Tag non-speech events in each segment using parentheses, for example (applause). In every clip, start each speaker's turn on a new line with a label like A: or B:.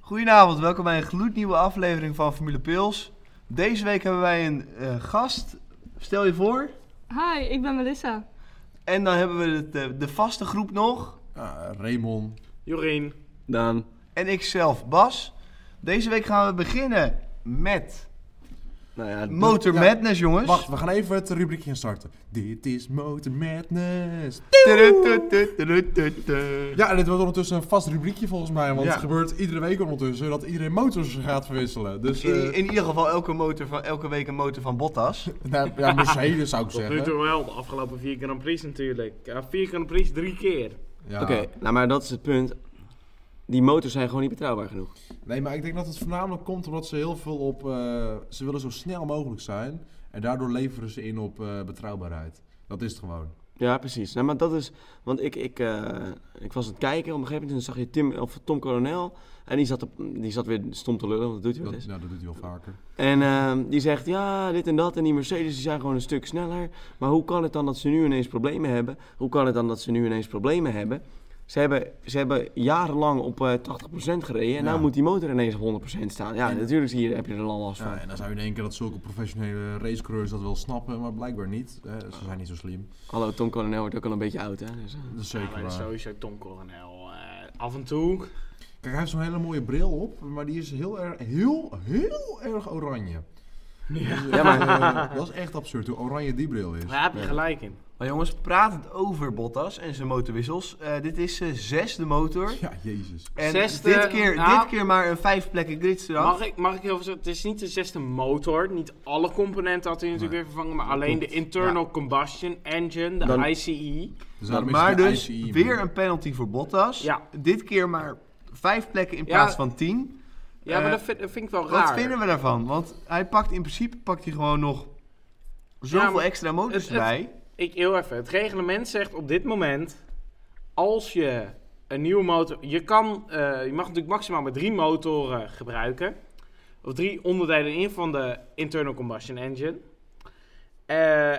A: Goedenavond, welkom bij een gloednieuwe aflevering van Formule Pils. Deze week hebben wij een eh, gast. Stel je voor.
B: Hi, ik ben Melissa.
A: En dan hebben we het, eh, de vaste groep nog.
C: Ah, Raymond.
D: Dus- Jorien.
E: Daan.
A: En ikzelf, Bas. Deze week gaan we beginnen met
E: Nou ja,
A: Motor
C: ja.
A: Madness, jongens.
C: Wacht, we gaan even het rubriekje instarten. Dit is Motor Madness.
A: Tudutututututu.
C: Ja, en dit wordt ondertussen een vast rubriekje volgens mij. Want
A: Ja.
C: het gebeurt iedere week ondertussen dat iedereen motors gaat verwisselen. Dus
A: In,
C: eh
A: in ieder geval elke, motor van, elke week een motor van Bottas.
C: nou, ja, Mercedes zou ik
D: (laughs) Tot nu
C: zeggen.
D: toe wel, de afgelopen vier Grand Prix natuurlijk. Ja, vier Grand Prix drie keer.
C: Ja.
E: Oké, nou maar dat is het punt. Die motors zijn gewoon niet betrouwbaar genoeg.
C: Nee, maar ik denk dat het voornamelijk komt omdat ze heel veel op... eh, ze willen zo snel mogelijk zijn. En daardoor leveren ze in op eh, betrouwbaarheid. Dat is het gewoon.
E: Ja, precies. Nou, maar dat is. Want ik, ik, eh, ik was aan het kijken op een gegeven moment. En zag je Tim, of Tom Coronel. En die zat, op, die zat weer stom te lullen, want dat doet hij wel
C: Dat,
E: eens.
C: nou, dat doet hij wel vaker.
E: En ehm, die zegt: Ja, dit en dat. En die Mercedes die zijn gewoon een stuk sneller. Maar hoe kan het dan dat ze nu ineens problemen hebben? Hoe kan het dan dat ze nu ineens problemen hebben? Ze hebben, ze hebben jarenlang op eh, 80% gereden. En
C: Ja.
E: nu moet die motor ineens op 100% staan. Ja, natuurlijk hier heb je er al last van.
C: Ja, en dan zou je denken dat zulke professionele racecreurs dat wel snappen, maar blijkbaar niet. Eh, ze zijn niet zo slim.
E: Hallo, Tom Coronel wordt ook al een beetje oud, hè? Dus, eh.
C: Dat is
D: Ja,
C: zeker
D: maar dat is
C: waar.
D: sowieso Tom Coronel. eh, af en toe.
C: Kijk, hij heeft zo'n hele mooie bril op, maar die is heel erg, heel, heel erg oranje. Ja, maar eh, dat is echt absurd hoe oranje die bril is.
D: Daar heb je gelijk in.
A: Maar jongens, pratend over Bottas en zijn motorwissels. eh, dit is zijn zesde motor.
C: Ja, jezus.
A: En
D: Zesde,
A: dit, keer,
D: nou-
A: dit keer maar een vijf plekken gridstraf.
D: Mag ik, mag ik heel veel zeggen? Het is niet de zesde motor. Niet alle componenten had hij natuurlijk weer vervangen. Maar alleen de internal combustion engine, de E.
E: Dan-
D: ICE.
C: Dus daarom is
A: maar
C: het de
A: dus
C: ICE
A: weer
C: bril.
A: een penalty voor Bottas.
D: Ja.
A: Dit keer maar vijf plekken in
D: Ja.
A: plaats van tien.
D: Ja,
A: Eh,
D: maar dat vind, dat vind ik wel
A: Wat
D: raar.
A: vinden we daarvan? Want hij pakt in principe pakt hij gewoon nog
D: Ja,
A: zoveel
D: maar
A: extra motors
D: het- het-
A: bij.
D: Ik heel even. Het reglement zegt op dit moment. Als je een nieuwe motor. Je, kan, eh, je mag natuurlijk maximaal maar drie motoren gebruiken. Of drie onderdelen in van de internal combustion engine. Eh,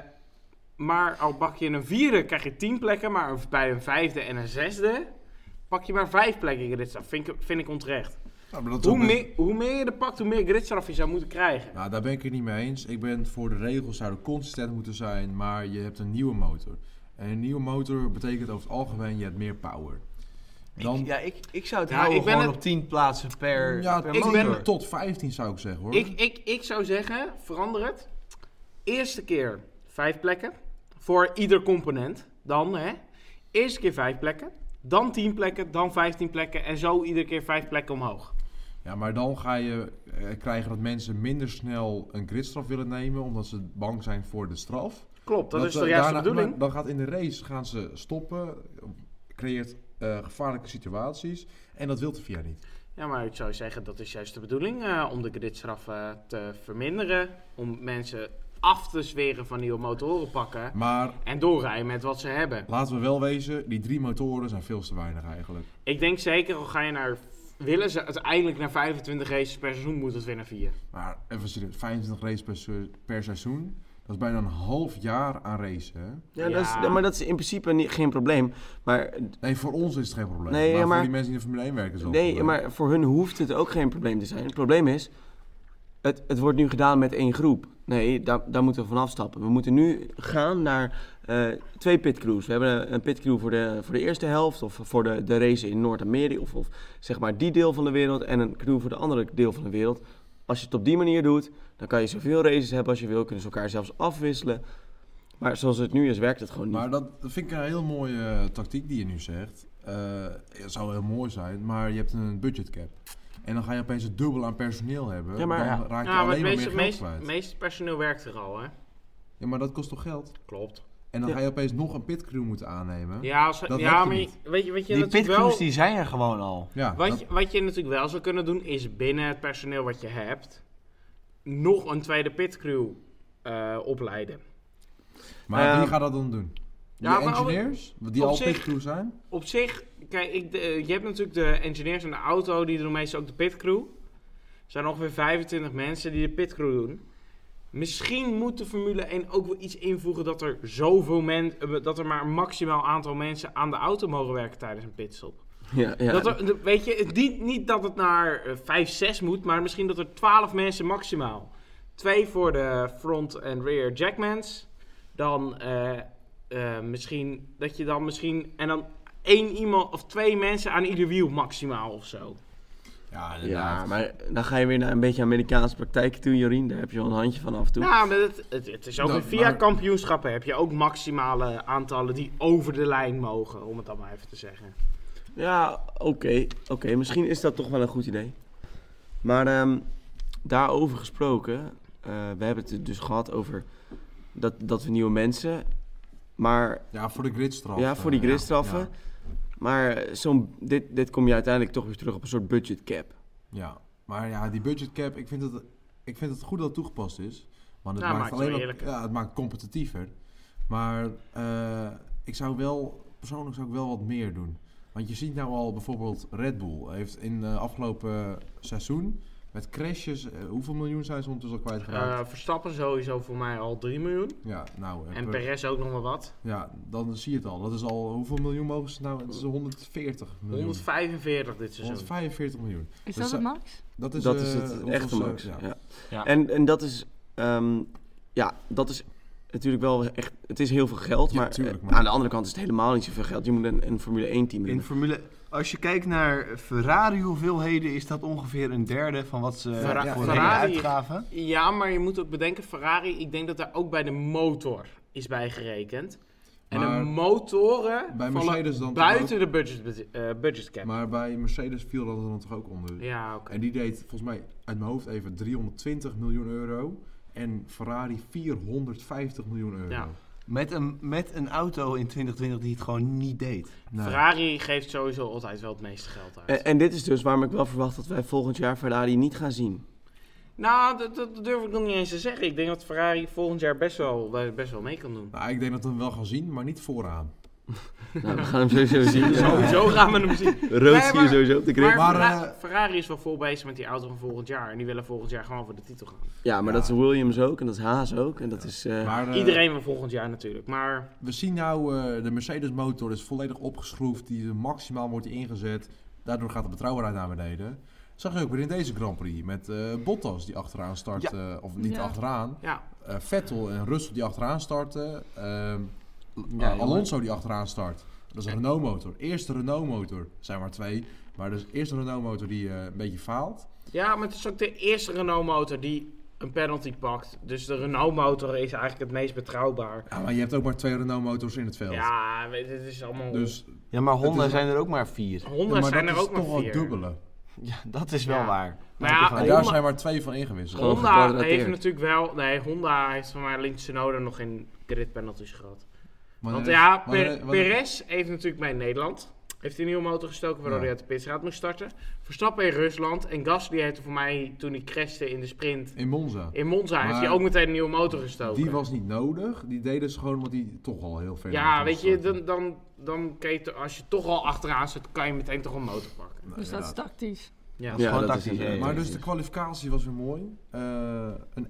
D: maar al pak je een vierde, krijg je tien plekken. Maar een- bij een vijfde en een zesde. Pak je maar vijf plekken gridstraf. Vind ik, vind ik onterecht.
C: Ja, maar dat is
D: Hoe,
C: ook best-
D: meer- hoe meer je er pakt, hoe meer gridstraf je zou moeten krijgen.
C: Nou, daar ben ik het niet mee eens. Ik ben voor de regels zouden consistent moeten zijn, maar je hebt een nieuwe motor. En een nieuwe motor betekent over het algemeen je hebt meer power. Dan,
A: Ik, ja, ik, ik zou het
D: Ja,
A: houden
D: ik ben
A: gewoon
D: het-
A: op tien plaatsen per,
C: ja,
A: per
C: ik
A: motor.
C: ben tot 15 zou ik zeggen hoor.
D: Ik, ik, ik zou zeggen, verander het. Eerste keer vijf plekken voor ieder component. Dan, hè. Eerste keer vijf plekken, dan tien plekken, dan vijftien plekken en zo iedere keer vijf plekken omhoog.
C: Ja, maar dan ga je eh, krijgen dat mensen minder snel een gridstraf willen nemen, omdat ze bang zijn voor de straf.
D: Klopt, dat, is
C: eh,
D: de juiste
C: daarna-
D: bedoeling.
C: maar Dan gaat in de race gaan ze stoppen, creëert eh, gevaarlijke situaties en dat wil de VIA niet.
D: Ja, maar ik zou zeggen, dat is juist de bedoeling eh, om de gridstraf eh, te verminderen. Om mensen af te zweren van nieuwe motoren pakken
C: Maar
D: en doorrijden met wat ze hebben.
C: laten we wel wezen, die drie motoren zijn veel te weinig eigenlijk.
D: Ik denk zeker, al ga je naar... Willen ze uiteindelijk naar 25 races per seizoen, moet het weer naar 4.
C: Maar even serieus, 25 races per, se- per seizoen, dat is bijna een half jaar aan racen. hè?
E: Ja, Dat is,
D: Ja.
E: maar dat is in principe niet, geen probleem. Maar,
C: Nee, voor ons is het geen probleem.
E: Nee,
C: maar,
E: ja, maar-
C: voor die mensen die in de Formule 1 werken is het wel een
E: nee,
C: probleem.
E: maar voor hun hoeft het ook geen probleem te zijn. Het probleem is, het, het wordt nu gedaan met één groep. Nee, daar, daar moeten we vanaf stappen. We moeten nu gaan naar eh, twee pitcrews. We hebben een, een pitcrew voor de, voor de eerste helft of voor de, de race in Noord-Amerika. Of, of zeg maar die deel van de wereld en een crew voor de andere deel van de wereld. Als je het op die manier doet, dan kan je zoveel races hebben als je wil. Kunnen ze elkaar zelfs afwisselen. Maar zoals het nu is, werkt het gewoon niet.
C: Maar dat, dat vind ik een heel mooie eh, tactiek die je nu zegt. Eh, het zou heel mooi zijn, maar je hebt een budgetcap. En dan ga je opeens het dubbel aan personeel hebben.
E: Ja, maar-
C: dan
E: ja.
C: raak je
D: Ja, Nou, maar
C: alleen maar
D: het
C: meer
D: meeste,
C: geld
D: meeste,
C: kwijt.
D: meeste personeel werkt er al, hè?
C: Ja, maar dat kost toch geld?
D: Klopt.
C: En dan
E: Ja.
C: ga je opeens nog een pitcrew moeten aannemen. Ja,
D: Ja, als,
C: Dat werkt
D: ja
C: er
D: maar je,
C: niet.
D: weet je, weet je
A: Die
D: natuurlijk
A: pitcrews
D: wel...
A: die zijn er gewoon al.
D: wat,
C: dat-
D: je, wat je natuurlijk wel zou kunnen doen, is binnen het personeel wat je hebt... nog een tweede pitcrew eh, opleiden.
C: maar
E: Eh,
C: wie gaat dat dan doen? Die
D: ja, maar op-
C: engineers, die
D: op
C: al
D: zich-
C: pitcrew zijn?
D: Op zich, kijk, ik, de- eh, je hebt natuurlijk de engineers en de auto, die doen meestal ook de pitcrew. Er zijn ongeveer 25 mensen die de pitcrew doen. Misschien moet de Formule 1 ook wel iets invoegen dat er zoveel men, eh, dat er maar een maximaal aantal mensen aan de auto mogen werken tijdens een pitstop.
E: Ja, ja.
D: Dat er, de- weet je, niet, niet dat het naar eh, 5, 6 moet, maar misschien dat er 12 mensen maximaal. Twee voor de front en rear jackmans. Dan eh, eh, misschien dat je dan misschien. En dan één iemand of twee mensen aan ieder wiel maximaal of zo.
C: Ja, inderdaad.
E: ja, maar dan ga je weer naar een beetje Amerikaanse praktijk toe, Jorien. Daar heb je wel een handje van af en toe.
D: Nou, maar het, het, het is ook
C: Nou,
D: in via
C: maar-
D: kampioenschappen heb je ook maximale aantallen die over de lijn mogen, om het dan maar even te zeggen.
E: Ja, oké. oké. Misschien is dat toch wel een goed idee. Maar ehm, daarover gesproken, eh, we hebben het dus gehad over dat, dat we nieuwe mensen. Maar
C: Ja, voor de gridstraf.
E: ja, voor die
C: eh,
E: gridstraffen.
C: Ja,
E: Maar zo'n, dit, dit kom je uiteindelijk toch weer terug op een soort budget cap.
C: ja. maar ja, die budget cap, ik vind het, ik vind het goed dat het toegepast is. Want het
D: Ja,
C: maakt
D: maakt het
C: alleen
D: wel
C: maar-
D: eerlijker.
C: ja, het maakt competitiever. Maar eh, ik zou wel, persoonlijk zou ik wel wat meer doen. Want je ziet nou al bijvoorbeeld Red Bull heeft in de afgelopen seizoen met crashes, eh, hoeveel miljoen zijn ze ondertussen al kwijtgeraakt?
D: Eh, Verstappen sowieso voor mij al 3 miljoen.
C: ja, nou, eh,
D: En
C: per-
D: Perez ook nog maar wat.
C: ja, dan zie je het al. Dat is al, hoeveel miljoen mogen ze nou? Het is 140 miljoen.
D: 145 dit seizoen.
C: 145 miljoen.
B: Is
C: dat
B: dat
C: zou-
B: het max?
C: Dat is,
E: dat
C: eh,
E: is het
C: ons-
E: echte
C: ons, eh,
E: max.
C: ja.
E: Ja.
D: Ja.
E: En, en dat is, ehm, ja, dat is natuurlijk wel echt, het is heel veel geld.
C: Ja,
E: maar,
C: tuurlijk,
E: eh,
C: maar-
E: aan de andere kant is het helemaal niet zoveel geld. Je moet een, een Formule 1 team
A: In
E: hebben.
A: Formule... Als je kijkt naar Ferrari hoeveelheden, is dat ongeveer een derde van wat ze
D: Ferra-
A: voor
D: Ferrari-
A: uitgaven.
D: Ja, maar je moet ook bedenken, Ferrari, ik denk dat daar ook bij de motor is bij gerekend. En
C: Maar
D: de motoren
C: bij
D: vallen
C: Mercedes dan toch
D: buiten de budget, eh, budget cap.
C: Maar bij Mercedes viel dat er dan toch ook onder.
D: ja, oké.
C: En die deed volgens mij uit mijn hoofd even 320 miljoen euro. En Ferrari 450 miljoen euro.
D: Ja.
A: Met een, met een auto in 2020 die het gewoon niet deed.
C: Nou,
D: Ferrari geeft sowieso altijd wel het meeste geld
C: Eh,
D: uit.
E: En, en dit is dus waarom ik wel verwacht dat wij volgend jaar Ferrari niet gaan zien.
D: (laughs) nou, dat, dat durf ik nog niet eens te zeggen. Ik denk dat Ferrari volgend jaar best wel, daar best wel mee kan doen.
C: nou, ik denk dat we hem wel gaan zien, maar niet vooraan.
E: Nou, we gaan hem sowieso zien.
D: Sowieso gaan we hem
C: (laughs)
D: zien.
E: Rood
D: Nee,
E: zie je
D: maar-
E: sowieso op de grip.
D: Maar,
C: Maar,
D: Ferra-
C: eh,
D: Ferrari is wel vol bezig met die auto van volgend jaar. En die willen volgend jaar gewoon voor de titel gaan.
E: Ja, maar
C: Ja.
E: dat is Williams ook en dat is Haas ook. En dat is... eh,
C: Maar, eh,
D: Iedereen wil volgend jaar natuurlijk. Maar
C: We zien nou, eh, de Mercedes motor is volledig opgeschroefd. Die maximaal wordt ingezet. Daardoor gaat de betrouwbaarheid naar beneden. zag je ook weer in deze Grand Prix. Met eh, Bottas die achteraan start. eh, of niet
B: Ja.
C: achteraan.
D: ja,
C: eh, Vettel en Russell die achteraan starten. ehm,
E: Ja,
C: eh, Alonso die achteraan start. Dat is een Renault motor. Eerste Renault motor. zijn maar twee. Maar dus eerste Renault motor die eh, een beetje faalt.
D: Ja, maar het is ook de eerste Renault motor die een penalty pakt. Dus de Renault motor is eigenlijk het meest betrouwbaar.
C: Ja, maar je hebt ook maar twee Renault motors in het veld.
D: Ja, weet je, het is allemaal...
C: Dus
A: Ja, maar
C: Honda Het is- Oh.
A: zijn er ook maar vier.
D: Honda
C: Ja, maar
D: zijn
C: dat
D: er
C: is
D: ook
C: toch
D: nog
C: wel
D: vier.
C: dubbele.
A: Ja, (laughs) dat is
D: Ja.
A: wel waar.
D: Maar
A: Dat
D: ja,
A: is wel
C: En
A: waar.
C: daar
D: Honda-
C: zijn maar twee van ingewisseld.
E: Gewoon
D: Honda
E: gecoördineerd.
D: heeft natuurlijk wel... Nee, Honda heeft van mij Link Tsunoda nog geen grid penalties gehad.
C: Wanneer
D: Want
C: is-
D: ja,
C: wanneer-
D: Per-
C: wanneer-
D: Perez heeft natuurlijk bij Nederland... Heeft een nieuwe motor gestoken
C: Ja.
D: waardoor hij uit de pitstraat moest starten. Verstappen in Rusland. En Gasly heeft er voor mij, toen hij crashte in de sprint
C: In Monza.
D: in Monza... heeft
C: Maar
D: hij ook meteen een nieuwe motor gestoken.
C: Die was niet nodig. Die deden ze gewoon omdat die toch al heel ver
D: Ja,
C: motor
D: weet je,
C: starten.
D: dan, dan, dan kan je, to- als je toch al achteraan zit, kan je meteen toch een motor pakken.
C: Nou,
B: Dus dat is
C: inderdaad.
B: tactisch.
D: Ja.
A: gewoon
E: dat
A: tactisch,
E: is- eh,
A: hè.
C: Maar dus de kwalificatie was weer mooi. Eh, een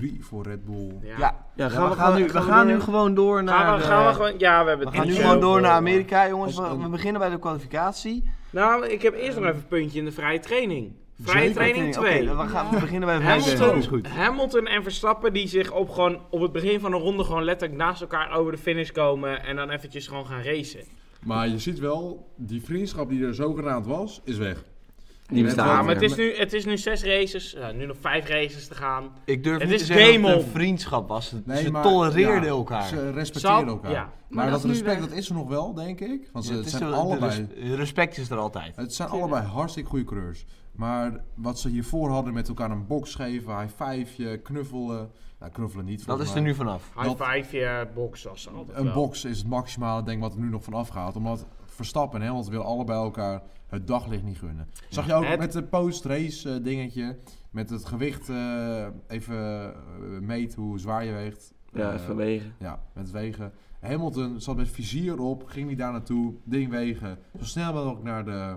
C: 1-3 voor Red Bull.
A: Ja,
D: Ja.
E: Ja,
A: Ja, we gaan, nu, we gaan nu gewoon door naar...
D: Gaan we, gaan we
A: eh,
D: gewoon, ja, we hebben
A: we
D: het
A: gaan nu
D: niet
A: gewoon
D: heel
A: door
D: veel,
A: naar
D: maar-
A: Amerika, jongens.
C: Als-
A: We, we
C: eh,
A: beginnen bij de kwalificatie.
D: Nou, ik heb eerst nog even een puntje in de vrije training. Vrije
C: Zeker.
D: training 2.
A: Oké, we, gaan, we beginnen bij de vrije
D: Hamilton,
A: training. Is goed.
D: Hamilton en Verstappen die zich op, gewoon, op het begin van een ronde gewoon letterlijk naast elkaar over de finish komen en dan eventjes gewoon gaan racen.
C: Maar je ziet wel, die vriendschap die er zogenaamd was, is weg.
A: Dus
E: Die
C: Met
E: bestaan
C: wat-
D: Ja,
E: niet
D: Ah, maar
E: meer.
D: het is nu, het is nu zes races, nou, nu nog vijf races te gaan.
A: Ik durf
D: Het
A: niet te
D: is
A: zeggen
D: game
A: dat het
D: on.
A: een vriendschap was. Het-
C: Nee,
A: ze
C: maar-
A: tolereerden
C: ja,
A: elkaar.
C: Ze respecteren
D: Zal-
C: elkaar.
D: ja.
C: Maar,
B: Maar dat
C: dat
B: is nu
C: respect,
B: weg.
C: dat is er nog wel, denk ik. Want
A: Ja,
C: ze, het
A: is
C: zijn
A: wel- de
C: allebei,
A: res- respect is er altijd.
C: het zijn allebei hartstikke goede coureurs. Maar wat ze hiervoor hadden met elkaar een box geven, high five, knuffelen. Nou, knuffelen niet.
A: Dat
C: volgens
A: is er
C: mij.
A: nu vanaf.
D: High
C: Dat-
D: five, je box was er altijd
C: Een
D: wel.
C: box is het maximale, denk ik, wat er nu nog van afgaat. Omdat Verstappen en Hamilton willen allebei elkaar het daglicht niet gunnen. Zag je ook
D: Het-
C: met de post-race eh, dingetje, met het gewicht eh, even eh, meet hoe zwaar je weegt.
E: Ja,
C: Eh,
E: even wegen.
C: Ja, met wegen. Hamilton zat met vizier op, ging die daar naartoe, ding wegen. Zo snel mogelijk naar de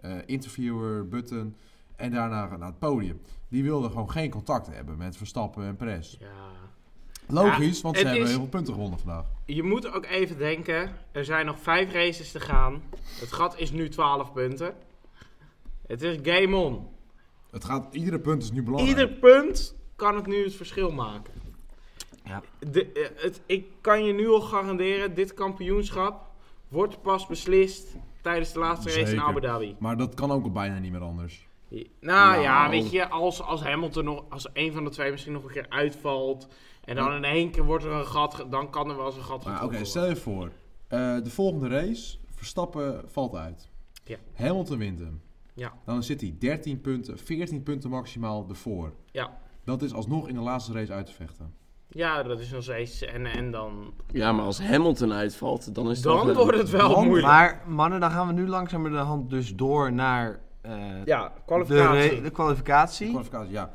C: eh, interviewer, button en daarna naar het podium. Die wilde gewoon geen contact hebben met Verstappen en Perez.
D: Ja.
C: Logisch, want ze
D: het
C: hebben
D: is-
C: heel veel punten gewonnen vandaag.
D: Je moet ook even denken, er zijn nog vijf races te gaan. Het gat is nu 12 punten. Het is game on.
C: Het gaat, iedere punt is nu belangrijk.
D: Ieder punt kan het nu het verschil maken.
C: Ja.
D: De, eh, het, ik kan je nu al garanderen, dit kampioenschap wordt pas beslist tijdens de laatste race in
C: Zeker.
D: Abu Dhabi.
C: Maar dat kan ook al bijna niet meer anders.
D: Nou, ja, weet je, als, als Hamilton nog, als een van de twee misschien nog een keer uitvalt. En dan in één keer wordt er een gat, ge- dan kan er wel eens een gat
C: Maar oké,
D: getrokken worden.
C: stel je voor. eh, de volgende race, Verstappen valt uit.
D: Ja.
C: Hamilton wint hem.
D: Ja.
C: Dan zit hij 13 punten, 14 punten maximaal ervoor.
D: Ja.
C: Dat is alsnog in de laatste race uit te vechten.
D: Ja, dat is nog steeds. En, en dan,
E: Ja, maar als Hamilton uitvalt, dan is het
D: dan
E: wel-
D: wordt het wel
A: Want-
D: moeilijk.
A: Maar mannen, dan gaan we nu langzamer de hand dus door naar eh,
D: ja,
A: De, re-
D: kwalificatie.
A: de kwalificatie.
C: Kwalificatie, ja.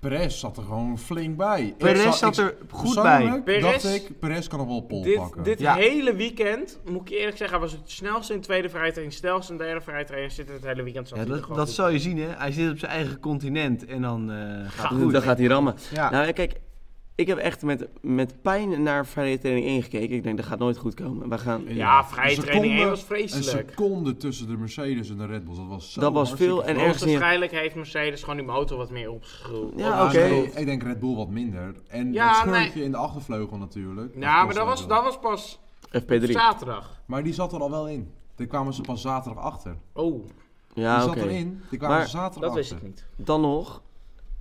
C: Perez zat er gewoon flink bij. Ik
A: Perez
C: zat-
A: zat
C: ik-
A: er goed bij.
C: persoonlijk
D: Perez-
C: dacht ik, Perez kan nog wel pol pakken.
D: Dit, dit
A: Ja.
D: hele weekend, moet ik je eerlijk zeggen, was het snelste in tweede vrijtraining, snelste in derde vrijtraining, zit het hele weekend. zat
A: Ja,
D: hij er
A: dat,
D: gewoon
A: dat
D: goed.
A: zal je zien, hè. Hij zit op zijn eigen continent en dan eh, gaat het
E: Dan,
A: goed.
E: dan gaat hij rammen.
C: Ah.
A: Ja.
E: Nou, kijk, ik heb echt met, met pijn naar Friday Training 1 gekeken. Ik denk, dat gaat nooit goed komen. We gaan...
D: Ja,
C: Een
D: vrije
C: seconde-
D: training één was
C: Een
D: vreselijk.
C: seconde tussen de Mercedes en de Red Bulls. Dat was zo
E: Dat was
C: hartstikke
E: veel en
C: veel.
E: ergens in-
D: Waarschijnlijk heeft Mercedes gewoon die motor wat meer opgeschroefd.
E: Ja,
C: Ah,
E: oké.
C: nee, ik denk Red Bull wat minder. En
D: Ja,
C: dat scheurtje
D: nee.
C: in de achtervleugel natuurlijk.
D: Ja, maar
C: kost
D: dat
C: wel
D: was,
C: veel.
D: dat was pas
E: FP3.
D: zaterdag.
C: Maar die zat er al wel in. Daar kwamen ze pas zaterdag achter. Die
D: Oh,
E: Ja,
C: zat
E: Ah, oké.
C: erin. Die kwamen
E: Maar
C: ze zaterdag
D: dat wist
C: achter.
D: ik niet.
E: Dan nog,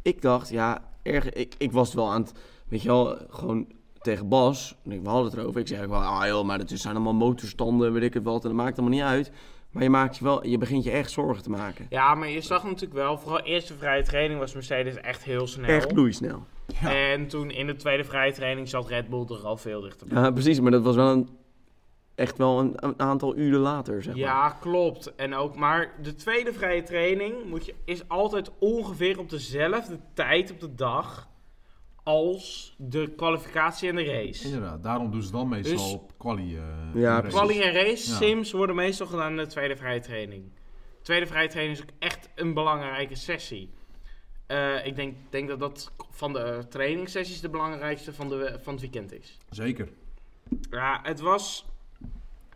E: ik dacht, ja, erg, ik, ik was wel aan het... Weet je wel, gewoon tegen Bas. en ik- We hadden het erover. Ik zei, wel, ah joh, maar het zijn allemaal motorstanden, weet ik het wat. En dat maakt allemaal niet uit. Maar je, maakt je, wel, je begint je echt zorgen te maken.
D: Ja, maar je zag natuurlijk wel, vooral eerste vrije training was Mercedes echt heel snel.
E: Echt loeisnel.
C: Ja.
D: En toen in de tweede vrije training zat Red Bull er al veel dichterbij.
E: Ja, precies. Maar dat was wel een, echt wel een, een aantal uren later, zeg maar.
D: Ja, klopt. En ook, maar de tweede vrije training moet je, is altijd ongeveer op dezelfde tijd op de dag als de kwalificatie en de race.
C: Inderdaad, daarom doen ze dan meestal
D: Dus-
C: op quali. eh
E: Ja,
C: races.
E: precies.
D: Quali en race
C: Ja.
D: sims worden meestal gedaan in de tweede vrije training. Tweede vrije training is ook echt een belangrijke sessie. Eh, ik denk, denk dat dat van de trainingssessies de belangrijkste van, de, van het weekend is.
C: Zeker.
D: Ja, het was.